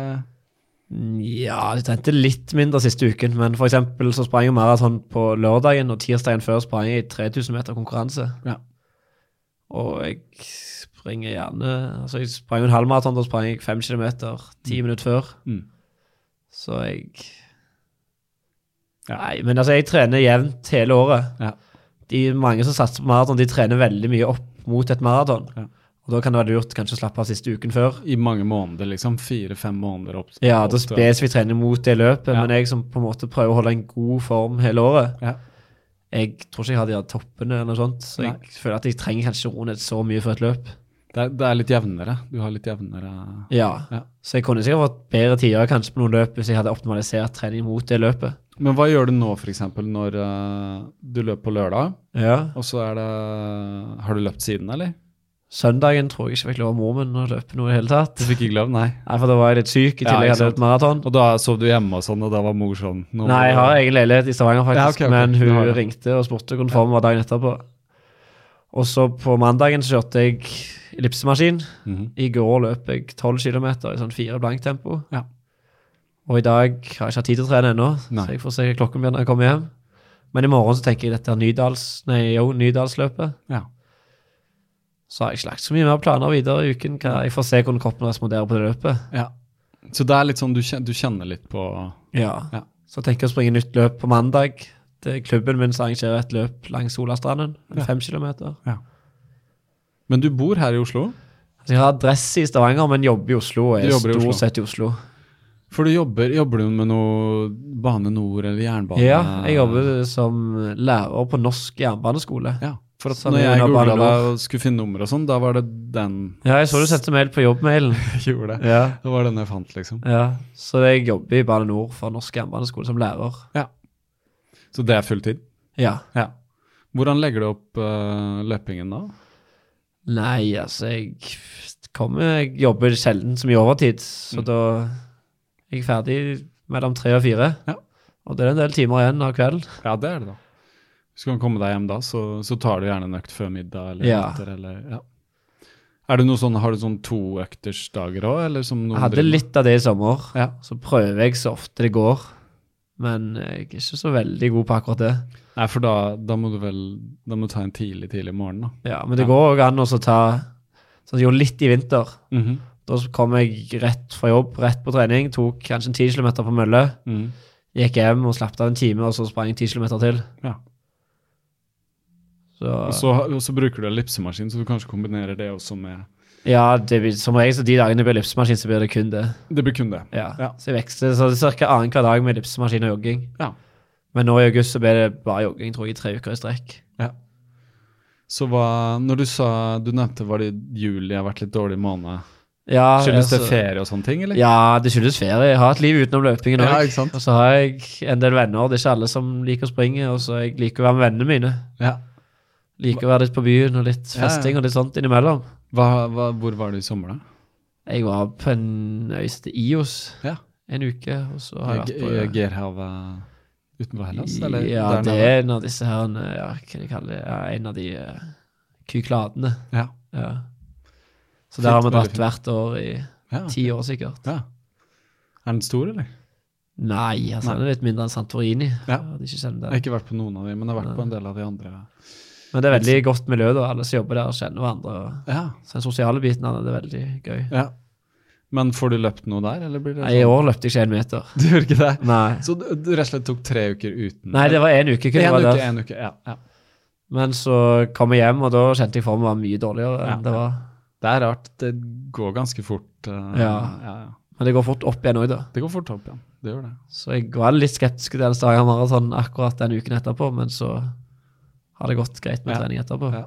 Mm, Ja, jeg trente litt mindre siste uken, men for eksempel så sprang jeg maraton på lørdagen, og tirsdagen før sprang jeg i 3000 meter konkurranse. Ja. Og jeg springer gjerne Altså, jeg sprang jo en halvmaraton, da sprang jeg fem kilometer ti minutter før. Mm. Så jeg Ja. Nei, men altså, jeg trener jevnt hele året. Ja. De mange som satser på maraton, de trener veldig mye opp mot et maraton. Ja. Og da kan det være lurt kanskje å slappe av siste uken før. I mange måneder, liksom? Fire-fem måneder opp? Ja, da opp til- spesifikt trener mot det løpet, Ja. men jeg som på en måte prøver å holde en god form hele året Ja. Jeg tror ikke jeg har de der toppene eller noe sånt, så jeg Nei. føler at jeg trenger kanskje å roe ned så mye for et løp. Det er, det er litt jevnere. Du har litt jevnere Ja. Ja. Så jeg kunne sikkert fått bedre tider kanskje på noen løp hvis jeg hadde optimalisert trening mot det løpet. Men hva gjør du nå, f.eks., når eh, du løper på lørdag, Ja. og så er det Har du løpt siden, eller? Søndagen tror jeg ikke fikk lov av mor min å løpe noe i det hele tatt. Du fikk ikke løp, nei. Nei, for da var jeg litt syk, i tillegg Ja, ikke hadde jeg sant. løpt maraton. Og da sov du hjemme og sånn, og da var mor sånn nå må Nei, jeg du- har egen leilighet i Stavanger, Ja, faktisk, ok, ok. men Du hun har det. ringte og spurte hvordan formen var dagen etterpå. Og så på mandagen så kjørte jeg ellipsemaskin. Mhm. I går løp jeg 12 km i sånn fire blankt tempo. Ja. Og i dag har jeg ikke hatt tid til å trene ennå, Nei. så jeg får se klokken blir når jeg kommer hjem. Men i morgen så tenker jeg dette er Nydals, nei, jo, Nydalsløpet. Ja. Så har jeg ikke lagt så mye mer planer videre i uken. Hva, jeg får se hvordan kroppen responderer på det løpet. Ja. Så det er litt sånn du kjenner, du kjenner litt på Ja. Ja. Så tenker jeg å springe nytt løp på mandag. Det er klubben min som arrangerer et løp langs Solastranden, en Ja. fem kilometer. Men du bor her i Oslo? Altså, jeg har adresse i Stavanger, men jobber i Oslo og Du er jobber i stort Oslo. sett i Oslo. For du jobber, jobber du med noe Bane Nor eller jernbane? Ja, jeg jobber som lærer på norsk jernbaneskole. Ja, For at Som når er jeg under Bane googla deg Nor. og skulle finne nummer og sånn, da var det den Ja, jeg så du sendte mail på jobbmailen. jeg gjorde det. ja. Det var den jeg fant, liksom. ja. Så jeg jobber i Bane Nor for norsk jernbaneskole som lærer. Så det er fulltid? Ja. Ja. Hvordan legger du opp eh, løpingen da? Nei, altså, jeg kommer Jeg jobber sjelden så mye overtid, så Mm. da er jeg ferdig mellom tre og fire. Ja. Og det er en del timer igjen av kvelden. Ja, det er det, da. Hvis du kan komme deg hjem da, så, så tar du gjerne en økt før middag eller Ja. etter. Eller, ja. Er det noe sånn, Har du sånn toøktersdager òg, eller som noen Jeg hadde driver med? litt av det i sommer. Ja. Så prøver jeg så ofte det går. Men jeg er ikke så veldig god på akkurat det. Nei, for da, da må du vel da må du ta en tidlig, tidlig morgen, da. Ja, Men det går òg an å så ta sånn, Jeg gjorde litt i vinter. Mhm. Da så kom jeg rett fra jobb, rett på trening. Tok kanskje en 10 km på mølle. Mhm. Gikk hjem og slapp av en time, og så sprang jeg 10 km til. Ja. Så, Og, så, og så bruker du ellipsemaskin, så du kanskje kombinerer det også med ja, det blir, som regel så de dagene det blir ellipsemaskin, så blir det kun det. Det blir kun det. Ja. Ja. Så jeg veksler så det er ca. annenhver dag med ellipsemaskin og jogging. Ja. Men nå i august så blir det bare jogging, tror jeg, i tre uker i strekk. Så hva Når du sa Du nevnte var det juli har vært litt dårlig måned. Ja, Skyldes det altså- ferie og sånne ting, eller? Ja, det skyldes ferie. Jeg har et liv utenom løpingen Ja, òg. ikke sant? og så har jeg en del venner. Det er ikke alle som liker å springe. Og så jeg liker å være med vennene mine. Ja. Liker å være litt på byen og litt Ja, ja. festing og litt sånt innimellom. Hva, hva, hvor var du i sommer, da? Jeg var på en øy som heter Ios Ja. en uke, og så har jeg I, vært på i Gerhavet utenfor Hellas? Eller Ja, der det nede? er en av disse her eh, ja, Hva de kaller det? Ja, en av de eh, kykladene. Ja. Ja. Så Fint, der har vi veldig dratt fint. hvert år i Ja. ti år, sikkert. ja. Er den stor, eller? Nei, altså Nei. den er litt mindre enn Santorini. Ja. Jeg hadde ikke kjent Jeg har det. ikke vært på noen av de, men jeg har vært på en del av de andre. Men det er veldig godt miljø, da. Alle som jobber der, kjenner hverandre. og Ja, Så den sosiale biten av det er veldig gøy. ja. Men får du løpt noe der, eller blir det Nei, I år løpte jeg ikke en meter. Du gjør ikke det? Nei. Så du, du rett og slett tok tre uker uten? Nei, det var én uke. Kun jeg en var uke, der. en uke, ja, ja. Men så kom jeg hjem, og da kjente jeg formen var mye dårligere Ja. enn det var. Det er rart. Det går ganske fort. eh, Ja. Ja, ja. Men det går fort opp igjen òg, da. Det går fort opp igjen. Det gjør det. Så jeg var litt skeptisk til den Stavanger Marathon akkurat den uken etterpå, men så har det gått greit med Ja. trening etterpå. Ja.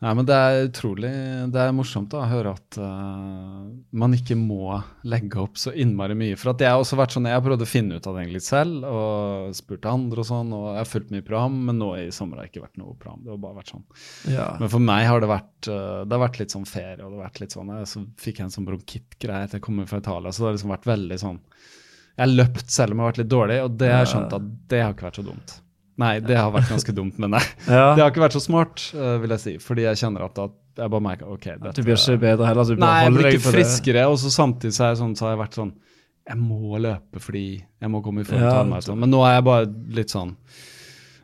Nei, men det er utrolig Det er morsomt da, å høre at eh, man ikke må legge opp så innmari mye. For at jeg har også vært sånn, jeg har prøvd å finne ut av det egentlig selv, og spurt andre og sånn, og jeg har fulgt mye program, men nå i sommer har det ikke vært noe program. Det har bare vært sånn. Ja. Men for meg har det vært, eh, det har vært litt sånn ferie, og det har vært litt sånn, eh, så fikk jeg en sånn bronkittgreie etter jeg kom fra Italia, så det har liksom vært veldig sånn, jeg har løpt selv om jeg har vært litt dårlig, og det har jeg skjønt at det har ikke vært så dumt. Nei, det har vært ganske dumt, men nei. Ja. Det har ikke vært så smart, eh, vil jeg si, fordi jeg kjenner at, at jeg bare merker, ok, dette... Du blir ikke bedre heller, så du Nei, bare jeg holder blir deg ikke for det. friskere, og så samtidig så, er jeg sånn, så har jeg vært sånn Jeg må løpe fordi jeg må komme i form til Ja. halvmaraton. Men nå er jeg bare litt sånn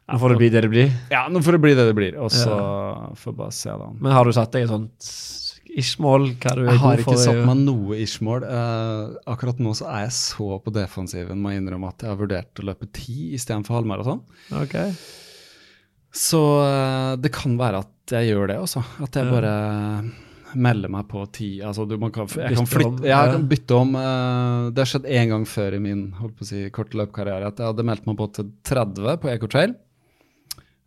Nå får det bli det det blir. Ja, nå får det bli det det blir, og så får jeg bare se, da. Men har du satt deg et sånt ish-mål? Hva du er Jeg har god ikke for? satt meg noe ish-mål. Eh, akkurat nå så er jeg så på defensiven med å innrømme at jeg har vurdert å løpe ti istedenfor halvmaraton. Ok. Så eh, det kan være at jeg gjør det, også. At jeg bare melder meg på ti. Altså, du, man kan, jeg Bytte kan om, flytte Jeg kan ja. bytte om. eh, det har skjedd én gang før i min holdt på å si, korte løpekarriere at jeg hadde meldt meg på til 30 på Eco Trail.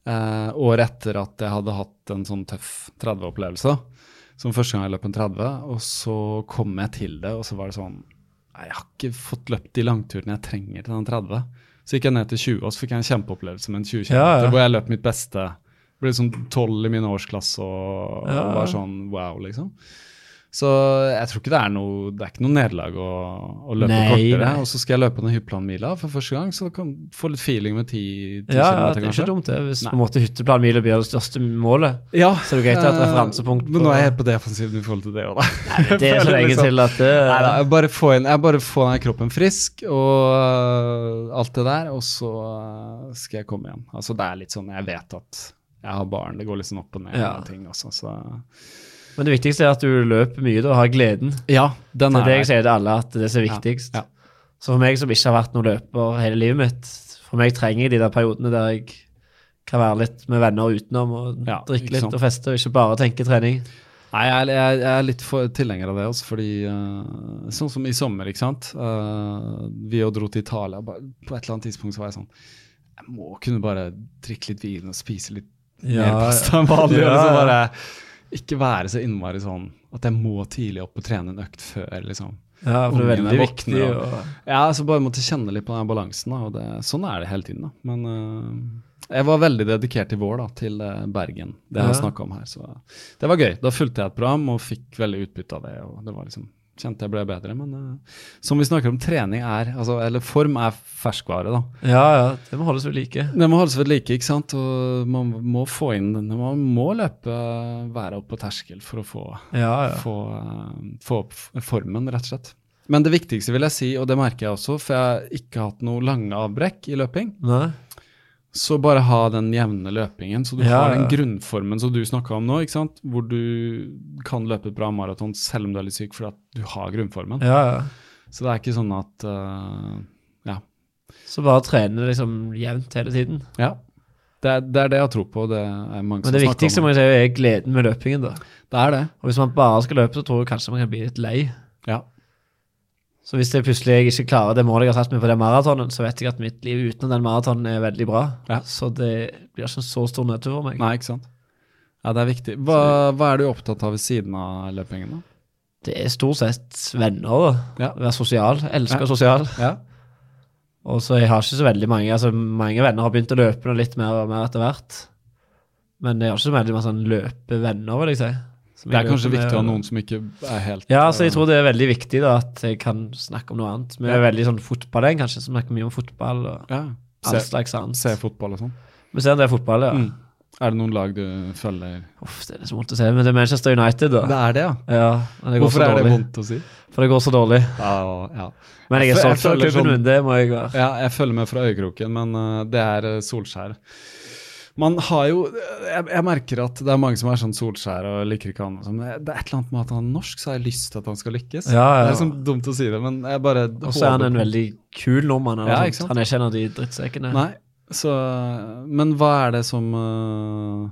Eh, året etter at jeg hadde hatt en sånn tøff 30-opplevelse. Som første gang jeg løp en 30. Og så kom jeg til det, og så var det sånn Nei, jeg har ikke fått løpt de langturene jeg trenger til den 30. Så gikk jeg ned til 20, og så fikk jeg en kjempeopplevelse med en 20 km, Ja, ja. hvor jeg løp mitt beste. Ble sånn 12 i min årsklasse og, Ja, ja. og var sånn wow, liksom. Så jeg tror ikke det er noe Det er ikke noe nederlag å, å løpe Nei, kortere. nei. Og så skal jeg løpe den hypplanmila for første gang, så kan få litt feeling med 10 10 Ja, ja, kilometer, det er kanskje. ikke dumt det. Hvis Nei. på en måte hytteplanmila blir det største målet, Ja, så er det greit å ha et eh, referansepunkt. Men på- nå er jeg helt på defensiven i forhold til det òg, da. Det er så lenge sånn. til at eh, det Nei da, Eh, jeg bare få inn, jeg bare få den kroppen frisk og øh, alt det der, og så øh, skal jeg komme igjen. Altså det er litt sånn, jeg vet at jeg har barn, det går litt sånn opp og ned Ja. og ting også, så Men det viktigste er at du løper mye da, og har gleden. ja, den Det er er det jeg der. sier til alle, at det er det som er viktigst. Ja. Så for meg som ikke har vært noen løper hele livet mitt, for meg trenger jeg de der periodene der jeg kan være litt med venner utenom og Ja, ikke drikke litt sant. og feste, og ikke bare tenke trening. Nei, jeg, jeg, jeg er litt for, tilhenger av det også, fordi øh, sånn som i sommer, ikke sant? Øh, vi jo dro til Italia, bare, på et eller annet tidspunkt så var jeg sånn, jeg må kunne bare drikke litt vin og spise litt mer pasta enn vanlig. Ja, og så ja. bare ikke være så innmari sånn at jeg må tidlig opp og trene en økt før, liksom. Ja, for det er Ungene veldig våkner, viktig. og- Og, Ja, så bare måtte kjenne litt på den her balansen, da. Og det, sånn er det hele tiden, da. Men øh, jeg var veldig dedikert i vår, da, til øh, Bergen. Det jeg har Ja. snakka om her. Så det var gøy. Da fulgte jeg et program og fikk veldig utbytte av det. Og det var liksom Kjente jeg ble bedre, men øh, som vi snakker om, trening er altså, Eller form er ferskvare, da. ja, ja, det må holdes ved like. Det må holdes ved like, ikke sant? Og man må få inn den. Man må løpe, være oppe på terskel for å få, Ja, ja. få, eh, få opp f- formen, rett og slett. Men det viktigste vil jeg si, og det merker jeg også, for jeg har ikke hatt noe lange avbrekk i løping, Nei? så bare ha den jevne løpingen, så du Ja, har den ja. grunnformen som du snakka om nå, ikke sant? hvor du kan løpe et bra maraton selv om du er litt syk, fordi at du har grunnformen. Ja, ja. Så det er ikke sånn at eh, Ja. Så bare trene liksom jevnt hele tiden. ja. Det, er, det er det jeg har tro på. Det er mange Men det snakker om viktigste må jeg si, er gleden med løpingen, da. Det er det. Og hvis man bare skal løpe, så tror jeg kanskje man kan bli litt lei. Ja. Så hvis det plutselig jeg ikke klarer det målet jeg har satt meg på den maratonen, så vet jeg at mitt liv utenom den maratonen er veldig bra. Ja. Så det blir ikke en så stor nedtur for meg. Nei, ikke sant? Ja, det er viktig. Hva, hva er du opptatt av ved siden av løpingen, da? Det er stort sett venner, da. Ja. Være sosial. Jeg Elsker Ja. sosial. Ja. Og så jeg har ikke så veldig mange. Altså, mange venner har begynt å løpe nå litt mer og mer etter hvert. Men jeg har ikke så veldig mange sånn løpevenner, vil jeg si. Som Det jeg er kanskje løper med, viktig å ha og- noen som ikke er helt eh, Ja, så jeg tror det er veldig viktig da, at jeg kan snakke om noe annet. Vi er Ja. veldig sånn fotball, kanskje, som snakker mye om fotball og ja. all Se, slags annet. se fotball og sånn. Vi ser en del fotball, ja. Mm. Er det noen lag du følger Uff, det er så vondt å se, men det er Manchester United, da. er det, ja. Ja, men det går Hvorfor så er det dårlig. vondt å si? For det går så dårlig. Ja, ja. Men jeg Jeg er føl- solgt av jeg føler klubben sånn- min, det må jeg være. ja, jeg følger med fra øyekroken, men eh, det er eh, Solskjær. Man har jo jeg, jeg merker at det er mange som er sånn Solskjær og liker ikke han. og sånn, men Det er et eller annet med at han er norsk, så har jeg lyst til at han skal lykkes. Ja, ja. Det er liksom dumt å si det, men jeg bare Og så er han en veldig kul nordmann. Ja, Eller ikke noe sånt. sant? Han er ikke en av de drittsekkene. Nei, så Men hva er det som øh,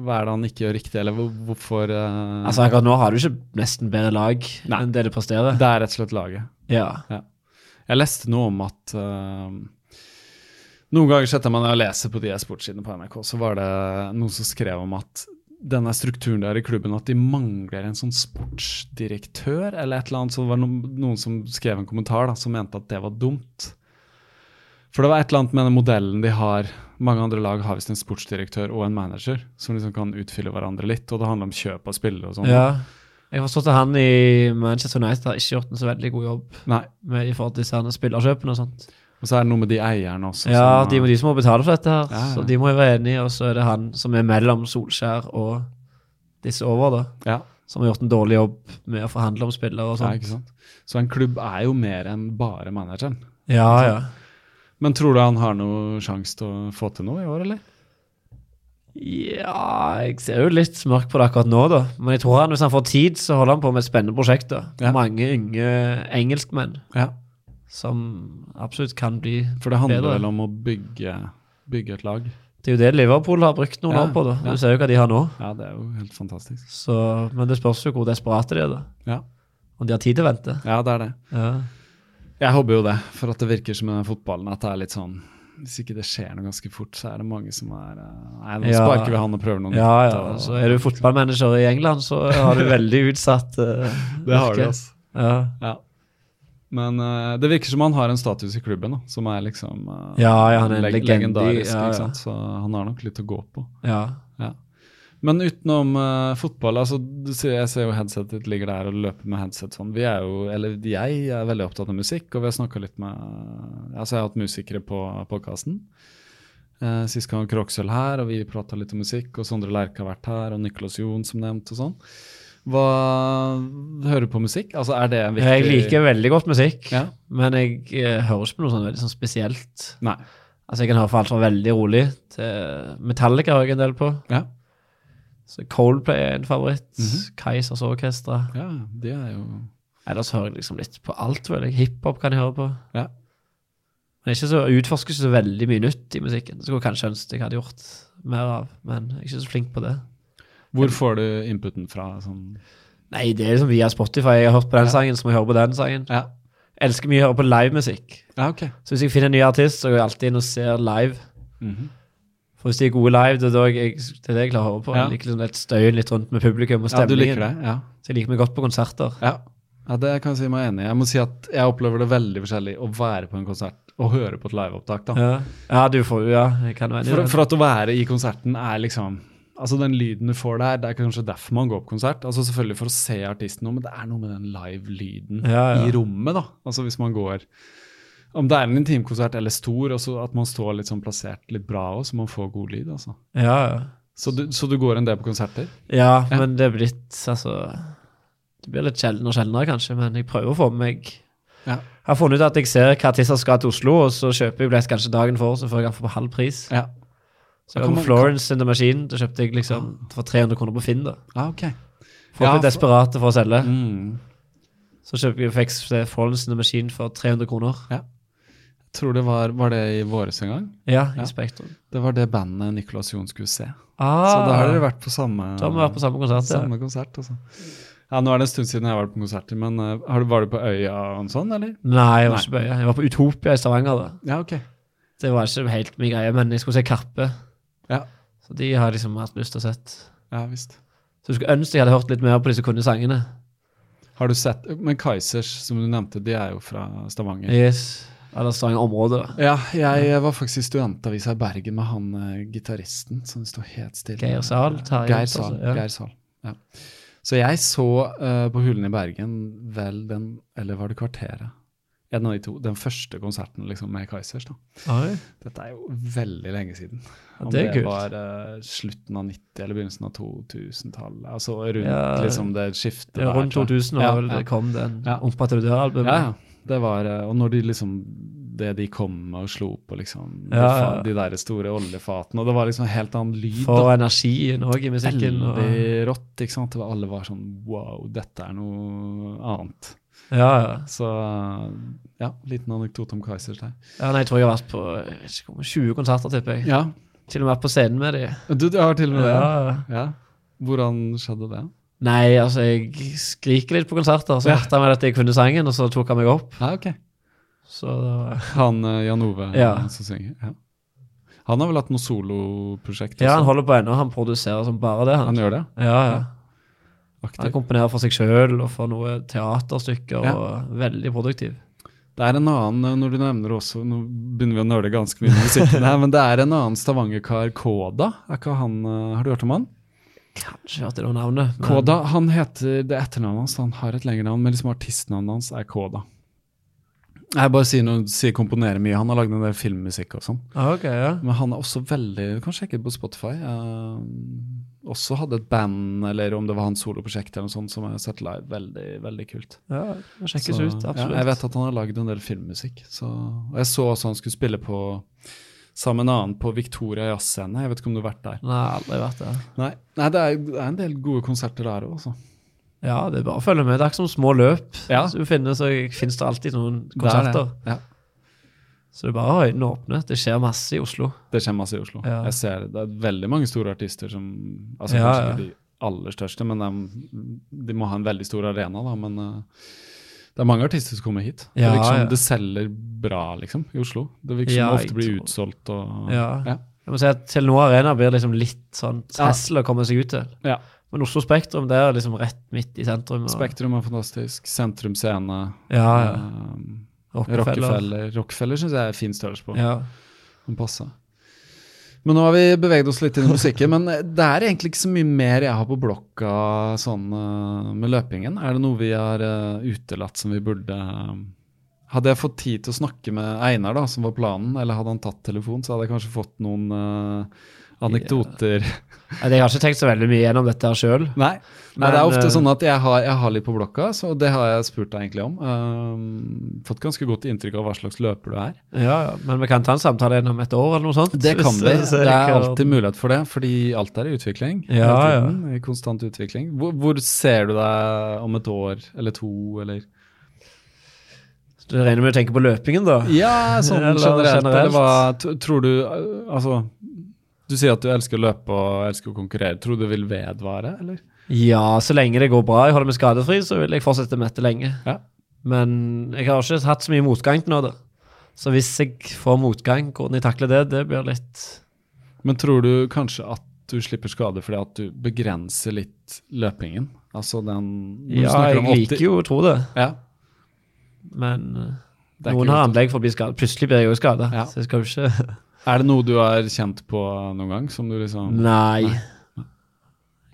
Hva er det han ikke gjør riktig, eller hvor- hvorfor øh, Altså Akkurat nå har du ikke nesten bedre lag Nei. enn det du presterer. Det er rett og slett laget. Ja. Jeg leste noe om at eh, Noen ganger setter man ned og leser på de sportssidene på NRK, så var det noen som skrev om at denne strukturen der i klubben, at de mangler en sånn sportsdirektør, eller et eller annet. Så det var noen, noen som skrev en kommentar da, som mente at det var dumt. For det var et eller annet med den modellen de har. Mange andre lag har visst en sportsdirektør og en manager, som liksom kan utfylle hverandre litt. Og det handler om kjøp av spillere og sånn. ja. Jeg har forstått at han i Manchester United har ikke gjort en så veldig god jobb Nei. med i forhold til disse her spillerkjøpene og sånt. Og så er det noe med de eierne også. Ja, som- de, de som må betale for dette her, Ja, ja. så de må jo være enige. Og så er det han som er mellom Solskjær og disse over, da. ja. Som har gjort en dårlig jobb med å forhandle om spillere og sånn. Ja, sånt. ikke sant? Så en klubb er jo mer enn bare manageren. Ja, ja. Men tror du han har noe sjanse til å få til noe i år, eller? Ja, jeg ser jo litt mørkt på det akkurat nå, da. Men jeg tror han, hvis han får tid, så holder han på med et spennende prosjekt. da. Ja. Mange unge engelskmenn Ja. som absolutt kan bli For det handler Bedre. vel om å bygge, bygge et lag. Det er jo det Liverpool har brukt noen Ja, år på, da. ja. Du ser jo hva de har nå. Ja, det er jo helt fantastisk. Så, men det spørs jo hvor desperate de er, da. Ja, Om de har tid til å vente. ja det er det. Ja. Jeg håper jo det, for at det virker som i den fotballen at det er litt sånn Hvis ikke det skjer noe ganske fort, så er det mange som er eh, Nei, nå Ja. sparker vi han og prøver noe Ja, nytt. ja. og- Så er du fotballmanager i England, så har du veldig utsatt uh, Det har de, altså. Ja. Ja. Men eh, det virker som han har en status i klubben, da, som er liksom eh, Ja, ja, han er en leg- legende, legendarisk. ja, ja. Ikke sant? Så han har nok litt å gå på. ja. Men utenom eh, fotball, altså, du ser, jeg ser jo headsetet ditt ligger der og løper med headset sånn. Vi er jo, eller jeg er veldig opptatt av musikk, og vi har snakka litt med Altså, jeg har hatt musikere på podkasten. Uh, sist gang Kroksøl her, og vi prata litt om musikk, og Sondre Lerche har vært her, og Nicolas Jon som nevnt, og sånn. Hva Hører du på musikk? Altså, er det en viktig Jeg liker veldig godt musikk, Ja. men jeg eh, hører ikke på noe sånn veldig sånn spesielt. Nei. Altså, jeg kan høre på alt fra veldig rolig til Metallica hører jeg en del på. Ja. Så Coldplay er en favoritt. Mhm. Keisers Orkestra. ja, det er jo Ellers hører jeg liksom litt på alt, vel. Jeg- Hiphop kan jeg høre på. Ja. Men ikke så, jeg utforsker ikke så veldig mye nytt i musikken. Skulle kanskje ønske jeg hadde gjort mer av, men jeg er ikke så flink på det. Hvor får du inputen fra? Sånn Nei, det er liksom via Spotify. Jeg har hørt på den sangen, så må jeg høre på den sangen. Ja, Elsker mye å høre på livemusikk. ja ok. Så hvis jeg finner en ny artist, så går jeg alltid inn og ser live. Mhm. For hvis de er gode live, det er, da jeg, det, er det jeg klarer å høre på. Ja. Jeg liker liksom litt støyen litt rundt med publikum og Ja, du stemningen. liker det? Ja. Så jeg liker meg godt på konserter. Ja. ja, det kan jeg si meg enig i. Jeg må si at jeg opplever det veldig forskjellig å være på en konsert og høre på et liveopptak. da. Ja, ja du får jo Ja, jeg kan være enig i For, det. for at å være i konserten er liksom Altså Den lyden du får der, det er kanskje derfor man går på konsert. Altså Selvfølgelig for å se artisten, nå, men det er noe med den live-lyden Ja, ja. i rommet. da. Altså Hvis man går Om det er en intimkonsert eller stor, også at man står litt sånn plassert litt bra òg, så man får god lyd. altså. Ja, ja. Så du, så du går en del på konserter? Ja, Ja. men det er blitt altså, Det blir litt sjeldnere og sjeldnere, kanskje, men jeg prøver å få med meg Ja. Jeg har funnet ut at jeg ser hva artister skal til Oslo, og så kjøper jeg billett kanskje dagen for, så får jeg den for på halv pris. Ja. Så jeg var på Florence in the Machine, da kjøpte jeg liksom for 300 kroner på Finn. da. Ja, ok. Folk Ja, blir desperate for å selge. Mm. Så kjøpte jeg fikk se Florence in the Machine eh, for 300 kroner. Tror det var, var det i våres en gang? Ja, Ja. i Spektrum. Det var det bandet Nicolas Jon skulle se. Ah, Så da har dere vært på samme, da har vi vært på samme konsert, ja. samme konsert. Altså. Ja, Nå er det en stund siden jeg har vært på konserter, men eh, har du, var du på Øya og en sånn, eller? Nei, jeg var Nei. ikke på øya. Jeg var på Utopia i Stavanger. da. Ja, ok. Det var ikke helt min greie, men jeg skulle se Karpe. Ja. Så de har jeg liksom hatt lyst til å sett. Ja, visst. Så jeg skulle ønske jeg hadde hørt litt mer på de som kunne sangene. Har du sett Men Kaizers, som du nevnte, de er jo fra Stavanger. Yes. Eller sangområdet. da. Ja, jeg eh, var faktisk i studentavisa i Bergen med han eh, gitaristen som sto helt stille. Geir Sahl, Terje Geir Johnsen, Sahl. altså, ja. Geir Sahl. Ja. Så jeg så eh, på Hulen i Bergen vel den Eller var det Kvarteret? En av de to. Den første konserten liksom, med Kaizers. da. Dette er jo veldig lenge siden. Ja, Om det det, er kult. var eh, slutten av 90- eller begynnelsen av 2000-tallet. Altså rundt Ja. liksom det skiftet Det var rundt tror jeg. 2000 var Ja, vel ja. det kom den Ja. Ompa Trudør-albumet. Ja, ja. Det var, eh, og når de liksom det de kom med og slo på, liksom. Ja, de, ja. fa- de der store oljefatene. Og det var liksom en helt annen lyd. For da. energien òg i musikken. Og, Veldig rått, ikke sant. Det var, alle var sånn wow, dette er noe annet. ja, ja. Så ja, liten anekdote om Kaizers der. ja, nei, jeg tror jeg har vært på jeg vet ikke hvor mange, 20 konserter, tipper jeg. Ja, Til og med vært på scenen med de. du, du har til og med det? Ja. Ja, ja. Hvordan skjedde det? Nei, altså, jeg skriker litt på konserter. Så Ja. hørte han vel at jeg kunne sangen, og så tok han meg opp. Ja, ok. Så det var... Han eh, Jan Ove Ja. eh, som synger. Ja. Han har vel hatt noe soloprosjekt? Ja, også? han holder på ennå. Han produserer som bare det. han Han, gjør det? ja, ja. han Aktiv. komponerer for seg sjøl og for noe teaterstykker. Ja. og Veldig produktiv. Det er en annen, eh, når du nevner også, nå begynner vi å nøle ganske mye med musikken her, men det er en annen stavangerkar, Koda. Er ikke han, eh, har du hørt om han? Kanskje hørte det navnet. men- Koda, han heter det er etternavnet hans, han har et lengre navn, men liksom artistnavnet hans er Koda. Jeg bare sier, noe, sier komponerer mye, han har lagd en del filmmusikk og sånn. Ah, ok, ja. Men han er også veldig Du kan sjekke det på Spotify. eh, også hadde et band, eller om det var hans soloprosjekt, eller noe sånt, som jeg har sett live. Veldig, veldig kult. ja må sjekkes Så, ut, absolutt. Ja, jeg vet at han har lagd en del filmmusikk. Så, og jeg så også han skulle spille på sammen med en annen på Victoria Jazzscene. Jeg vet ikke om du har vært der. Nei, aldri vært der. Nei, nei det, er, det er en del gode konserter der òg, altså. Ja, det er bare å følge med. Det er ikke som små løp. Ja. Så du finner, så finnes det alltid noen Det, konserter. er det. ja, Så det er bare å ha øynene åpne. Det skjer masse i Oslo. det kommer masse i Oslo. Ja. Jeg ser det. det er veldig mange store artister som altså Ja, Kanskje ja. ikke de aller største, men de, de må ha en veldig stor arena, da. Men eh, det er mange artister som kommer hit. Ja, det, virker som ja. det selger bra, liksom, i Oslo. Det virker som Ja, det jeg ofte blir tror- utsolgt og Ja. ja. Jeg må si at Telenor Arena blir liksom litt sånn Ja. hessel å komme seg ut til. Ja. Men Oslo Spektrum det er liksom rett midt i sentrum. Og, Spektrum er fantastisk. Sentrum Scene. Ja, ja. ehm, Rockefeller. Rockefeller. Rockefeller syns jeg er fin størrelse på. Ja. Den passer. Men nå har vi beveget oss litt inn i musikken. men eh, det er egentlig ikke så mye mer jeg har på blokka sånn eh, med løpingen. Er det noe vi har eh, utelatt som vi burde eh, Hadde jeg fått tid til å snakke med Einar, da, som var planen, eller hadde han tatt telefon, så hadde jeg kanskje fått noen eh, anekdoter. Nei, Jeg har ikke tenkt så veldig mye gjennom dette her sjøl. Nei. Nei, Men, det er ofte eh, sånn at jeg har, jeg har litt på blokka, så det har jeg spurt deg egentlig om. Ehm, fått ganske godt inntrykk av hva slags løper du er. Ja, ja. Men vi kan ta en samtale gjennom et år eller noe sånt. Det kan Hvis- vi. hvis Det jeg er liker- alltid mulighet for det, fordi alt er i utvikling. hele Ja, ja. tiden, I konstant utvikling. Hvor, hvor ser du deg om et år eller to, eller Du regner med å tenke på løpingen, da? Ja, sånn Eller generelt. Eller generelt. hva t- tror du eh, Altså, du sier at du elsker å løpe og elsker å konkurrere. Tror du det vil vedvare, eller? Ja, så lenge det går bra. Jeg holder meg skadefri, så vil jeg fortsette med dette lenge. Ja. Men jeg har ikke hatt så mye motgang til nå, da. Så hvis jeg får motgang, hvordan jeg takler det, det blir litt Men tror du kanskje at du slipper skade fordi at du begrenser litt løpingen? Altså den når du Ja, snakker jeg om 80 liker jo å tro det, ja, men eh, det er, noen ikke har lett. anlegg for å bli skadet. Plutselig blir jeg jo skada, Ja. så jeg skal jo ikke er det noe du har kjent på noen gang? Som du liksom, Nei.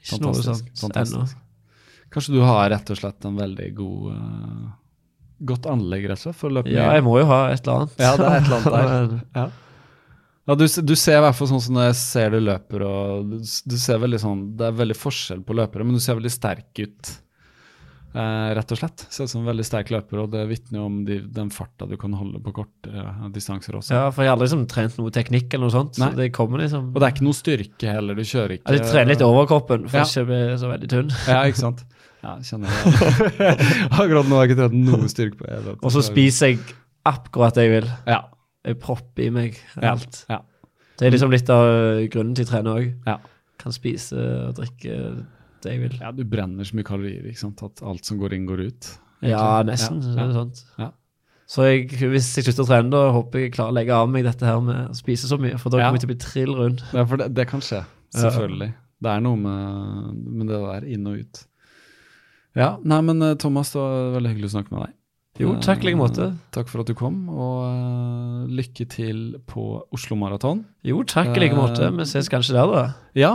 Ikke noe Fantastisk, sånt ennå. fantastisk. Kanskje du har rett og slett en veldig god eh, godt anlegg rett og slett for å løpe Ja, mye? jeg må jo ha et eller annet. ja, det er et eller annet der. Men- Ja. Ja, du, s- du ser i hvert fall sånn som når jeg ser du løper og du, s- du ser veldig sånn, Det er veldig forskjell på løpere, men du ser veldig sterk ut. eh, rett og slett. Ser ut som en veldig sterk løper, og det vitner jo om de, den farta du kan holde på kortere distanser også. Ja, for jeg har aldri liksom trent noe teknikk eller noe sånt. Nei. Så det kommer liksom Og det er ikke noe styrke heller, du kjører ikke Jeg trener litt i overkroppen for Ja. ikke å bli så veldig tynn. Ja, ikke sant? Ja, kjenner jeg Akkurat nå har jeg ikke trent noe styrke på det. Og så spiser jeg akkurat det jeg vil. Ja, Jeg propper i meg ja, alt. ja, Det er liksom litt av grunnen til å trene òg. ja. Kan spise og drikke det jeg vil. ja, du brenner så mye kalorier, ikke sant? At alt som går inn, går ut. Ja, nesten. Ja, så ja. er det sånt. Ja. Så jeg, hvis jeg slutter å trene, da håper jeg jeg klarer å legge av meg dette her med å spise så mye, for da Ja. kommer jeg til å bli trill rund. Ja, for det, det kan skje, selvfølgelig. Det er noe med, med det der inn og ut. Ja, nei, men eh, Thomas, det var veldig hyggelig å snakke med deg. Jo, takk i like måte. Eh, Takk for at du kom, og eh, lykke til på Oslo Maraton. Jo, takk i like måte. Vi ses kanskje der, da. Ja,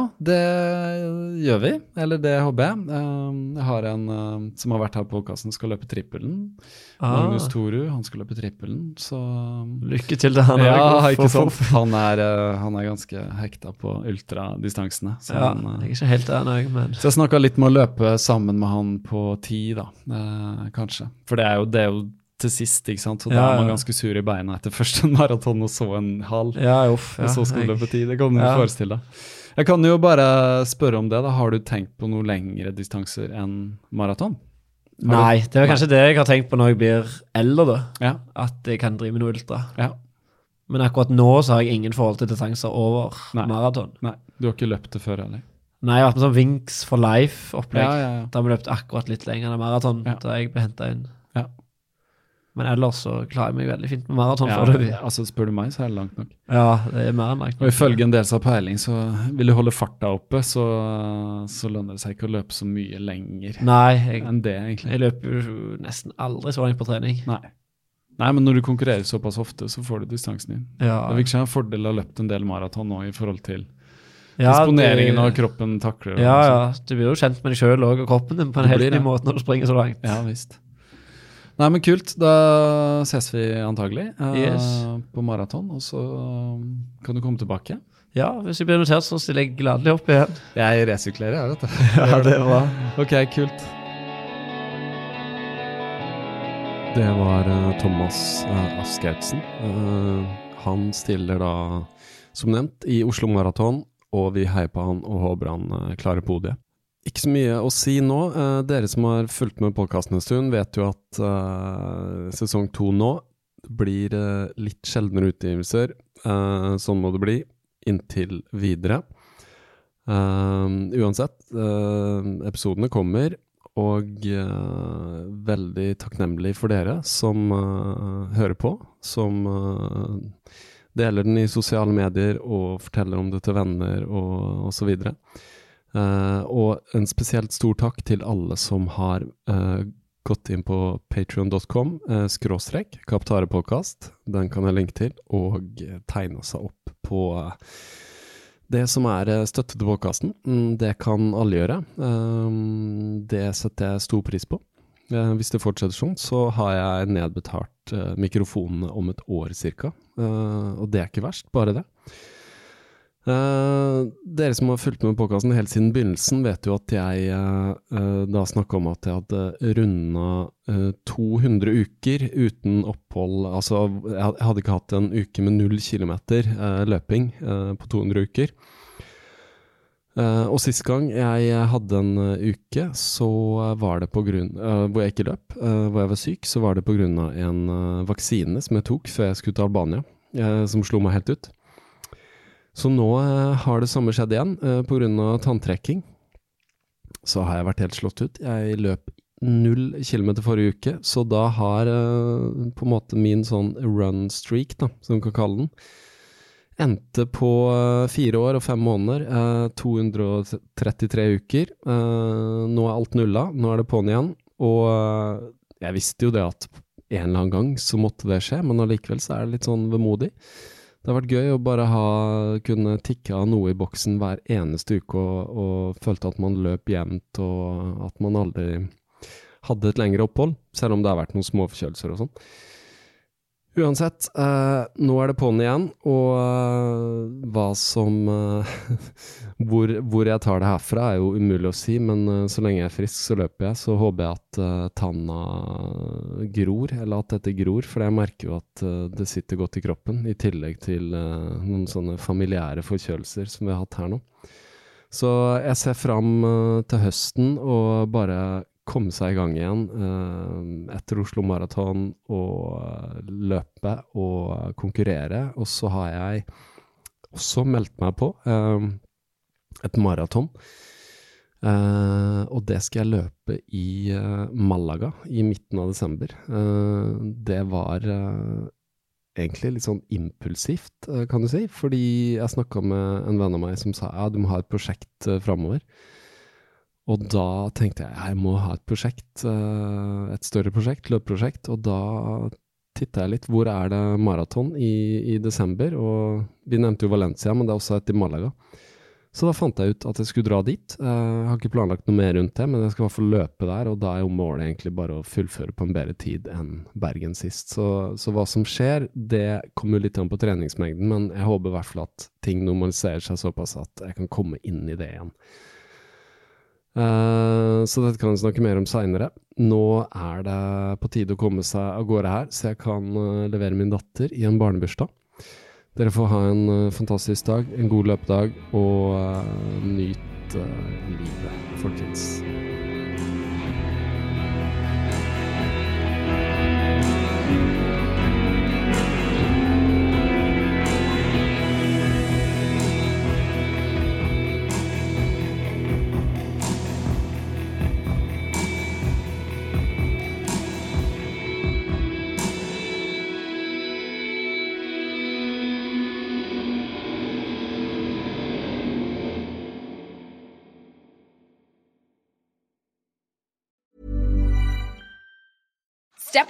det gjør vi. Eller det håper jeg. Eh, Jeg har en eh, som har vært her på podkasten, skal løpe trippelen. Ah, Magnus Toru, han skal løpe trippelen, så lykke til til han ja, òg. ikke sant? Han er, eh, han er ganske hekta på ultradistansene. Så, Sånn, Ja, han, jeg eh, er ikke helt der nå, jeg, men så jeg snakka litt med å løpe sammen med han på ti, da. Eh, kanskje. For det er jo, det er jo til sist, ikke sant? Så da Ja, er man ja. ganske sur i beina etter først en maraton og så en halv. Ja, uff. Ja, og så skoleløpet ti. Det kan du Ja. forestille deg. Jeg kan jo bare spørre om det. da. Har du tenkt på noe lengre distanser enn maraton? jeg- Nei, det er kanskje det jeg har tenkt på når jeg blir eldre, da. Ja. At jeg kan drive med noe ultra. ja. Men akkurat nå så har jeg ingen forhold til distanser over Nei. maraton. Nei, du har ikke løpt det før heller? Nei, jeg har vært med sånn Wings for life-opplegg. Ja, ja, ja. Da har vi løpt akkurat litt lenger enn maraton Ja. da jeg ble henta inn. Ja. Men ellers så klarer jeg meg veldig fint med maraton Ja, foreløpig. altså, spør du meg, så er det langt nok. Ja, det er mer enn langt. Og ifølge en del som har peiling, så vil du holde farta oppe, så, så lønner det seg ikke å løpe så mye lenger Nei, jeg, enn det, egentlig. jeg løper jo nesten aldri så langt på trening. Nei. Nei, men når du konkurrerer såpass ofte, så får du distansen din. Ja, Det virker som en fordel å ha løpt en del maraton nå i forhold til ja, disponeringen det- og kroppen takler. og Ja, sånn. ja. altså. Du blir jo kjent med deg sjøl og kroppen din på en Du helt blir ny det. måte når du springer så langt. Ja visst. Nei, men kult. Da ses vi antagelig eh, Yes. på maraton, og så um, kan du komme tilbake. Ja, hvis jeg blir invitert, så stiller jeg gladelig opp igjen. Jeg resirkulerer, jeg, vet du. Ja, det er bra. Ok, kult. Det var eh, Thomas eh, Askerdsen. Eh, han stiller da, som nevnt, i Oslo Maraton, og vi heier på han og håper han eh, klarer podiet. Ikke så mye å si nå. Eh, dere som har fulgt med podkasten en stund, vet jo at eh, sesong to nå blir eh, litt sjeldnere utgivelser. Eh, sånn må det bli inntil videre. Eh, uansett, eh, episodene kommer. Og eh, veldig takknemlig for dere som eh, hører på, som eh, deler den i sosiale medier og forteller om det til venner og osv. Uh, og en spesielt stor takk til alle som har eh, gått inn på patreon.com eh, skråstrek kaptarepodkast, den kan jeg linke til, og tegna seg opp på eh, det som er eh, støtte til podkasten, mm, det kan alle gjøre. Ehm, Det setter jeg stor pris på. Eh, Hvis det fortsetter sånn, så har jeg nedbetalt eh, mikrofonene om et år ca. Og det er ikke verst, bare det. Eh, dere som har fulgt med podkasten helt siden begynnelsen, vet jo at jeg eh, eh, da snakka om at jeg hadde runda eh, 200 uker uten opphold. Altså, jeg had- jeg hadde ikke hatt en uke med null kilometer eh, løping eh, på 200 uker. Eh, og sist gang jeg hadde en eh, uke, så var det på grunn eh, Hvor jeg ikke løp, eh, hvor jeg var syk, så var det pga. en eh, vaksine som jeg tok før jeg skulle til Albania, eh, som slo meg helt ut. Så nå eh, har det samme skjedd igjen, eh, på grunn av tanntrekking. Så har jeg vært helt slått ut. Jeg løp null kilometer forrige uke, så da har eh, på en måte min sånn run streak, da, som vi kan kalle den, endte på eh, fire år og fem måneder, eh, 233 uker. Eh, nå er alt nulla, nå er det på'n igjen. Og eh, jeg visste jo det at en eller annen gang så måtte det skje, men allikevel så er det litt sånn vemodig. Det har vært gøy å bare ha, kunne tikke av noe i boksen hver eneste uke og, og følte at man løp jevnt og at man aldri hadde et lengre opphold, selv om det har vært noen småforkjølelser og sånn. Uansett, eh, nå er det på'n igjen, og eh, hva som eh, hvor, hvor jeg tar det herfra, er jo umulig å si, men eh, så lenge jeg er frisk, så løper jeg. Så håper jeg at eh, tanna gror, eller at dette gror, for jeg merker jo at eh, det sitter godt i kroppen, i tillegg til eh, noen sånne familiære forkjølelser som vi har hatt her nå. Så jeg ser fram eh, til høsten og bare komme seg i gang igjen eh, etter Oslo Maraton og eh, løpe og konkurrere. Og så har jeg også meldt meg på eh, et maraton. Eh, og det skal jeg løpe i eh, Malaga i midten av desember. Eh, det var eh, egentlig litt sånn impulsivt, eh, kan du si. Fordi jeg snakka med en venn av meg som sa ja, du må ha et prosjekt eh, framover. Og da tenkte jeg jeg må ha et prosjekt, eh, et større prosjekt, løpeprosjekt. Og da titta jeg litt. Hvor er det maraton i, i desember? Og vi nevnte jo Valencia, men det er også et i Malaga. Så da fant jeg ut at jeg skulle dra dit. Eh, Jeg har ikke planlagt noe mer rundt det, men jeg skal i hvert fall løpe der, og da er jo målet egentlig bare å fullføre på en bedre tid enn Bergen sist. Så, så hva som skjer, det kommer jo litt an på treningsmengden, men jeg håper i hvert fall at ting normaliserer seg såpass at jeg kan komme inn i det igjen. Eh, så dette kan vi snakke mer om seinere. Nå er det på tide å komme seg av gårde her, så jeg kan eh, levere min datter i en barnebursdag. Dere får ha en eh, fantastisk dag, en god løpedag, og eh, nyt eh, livet, folkens. Step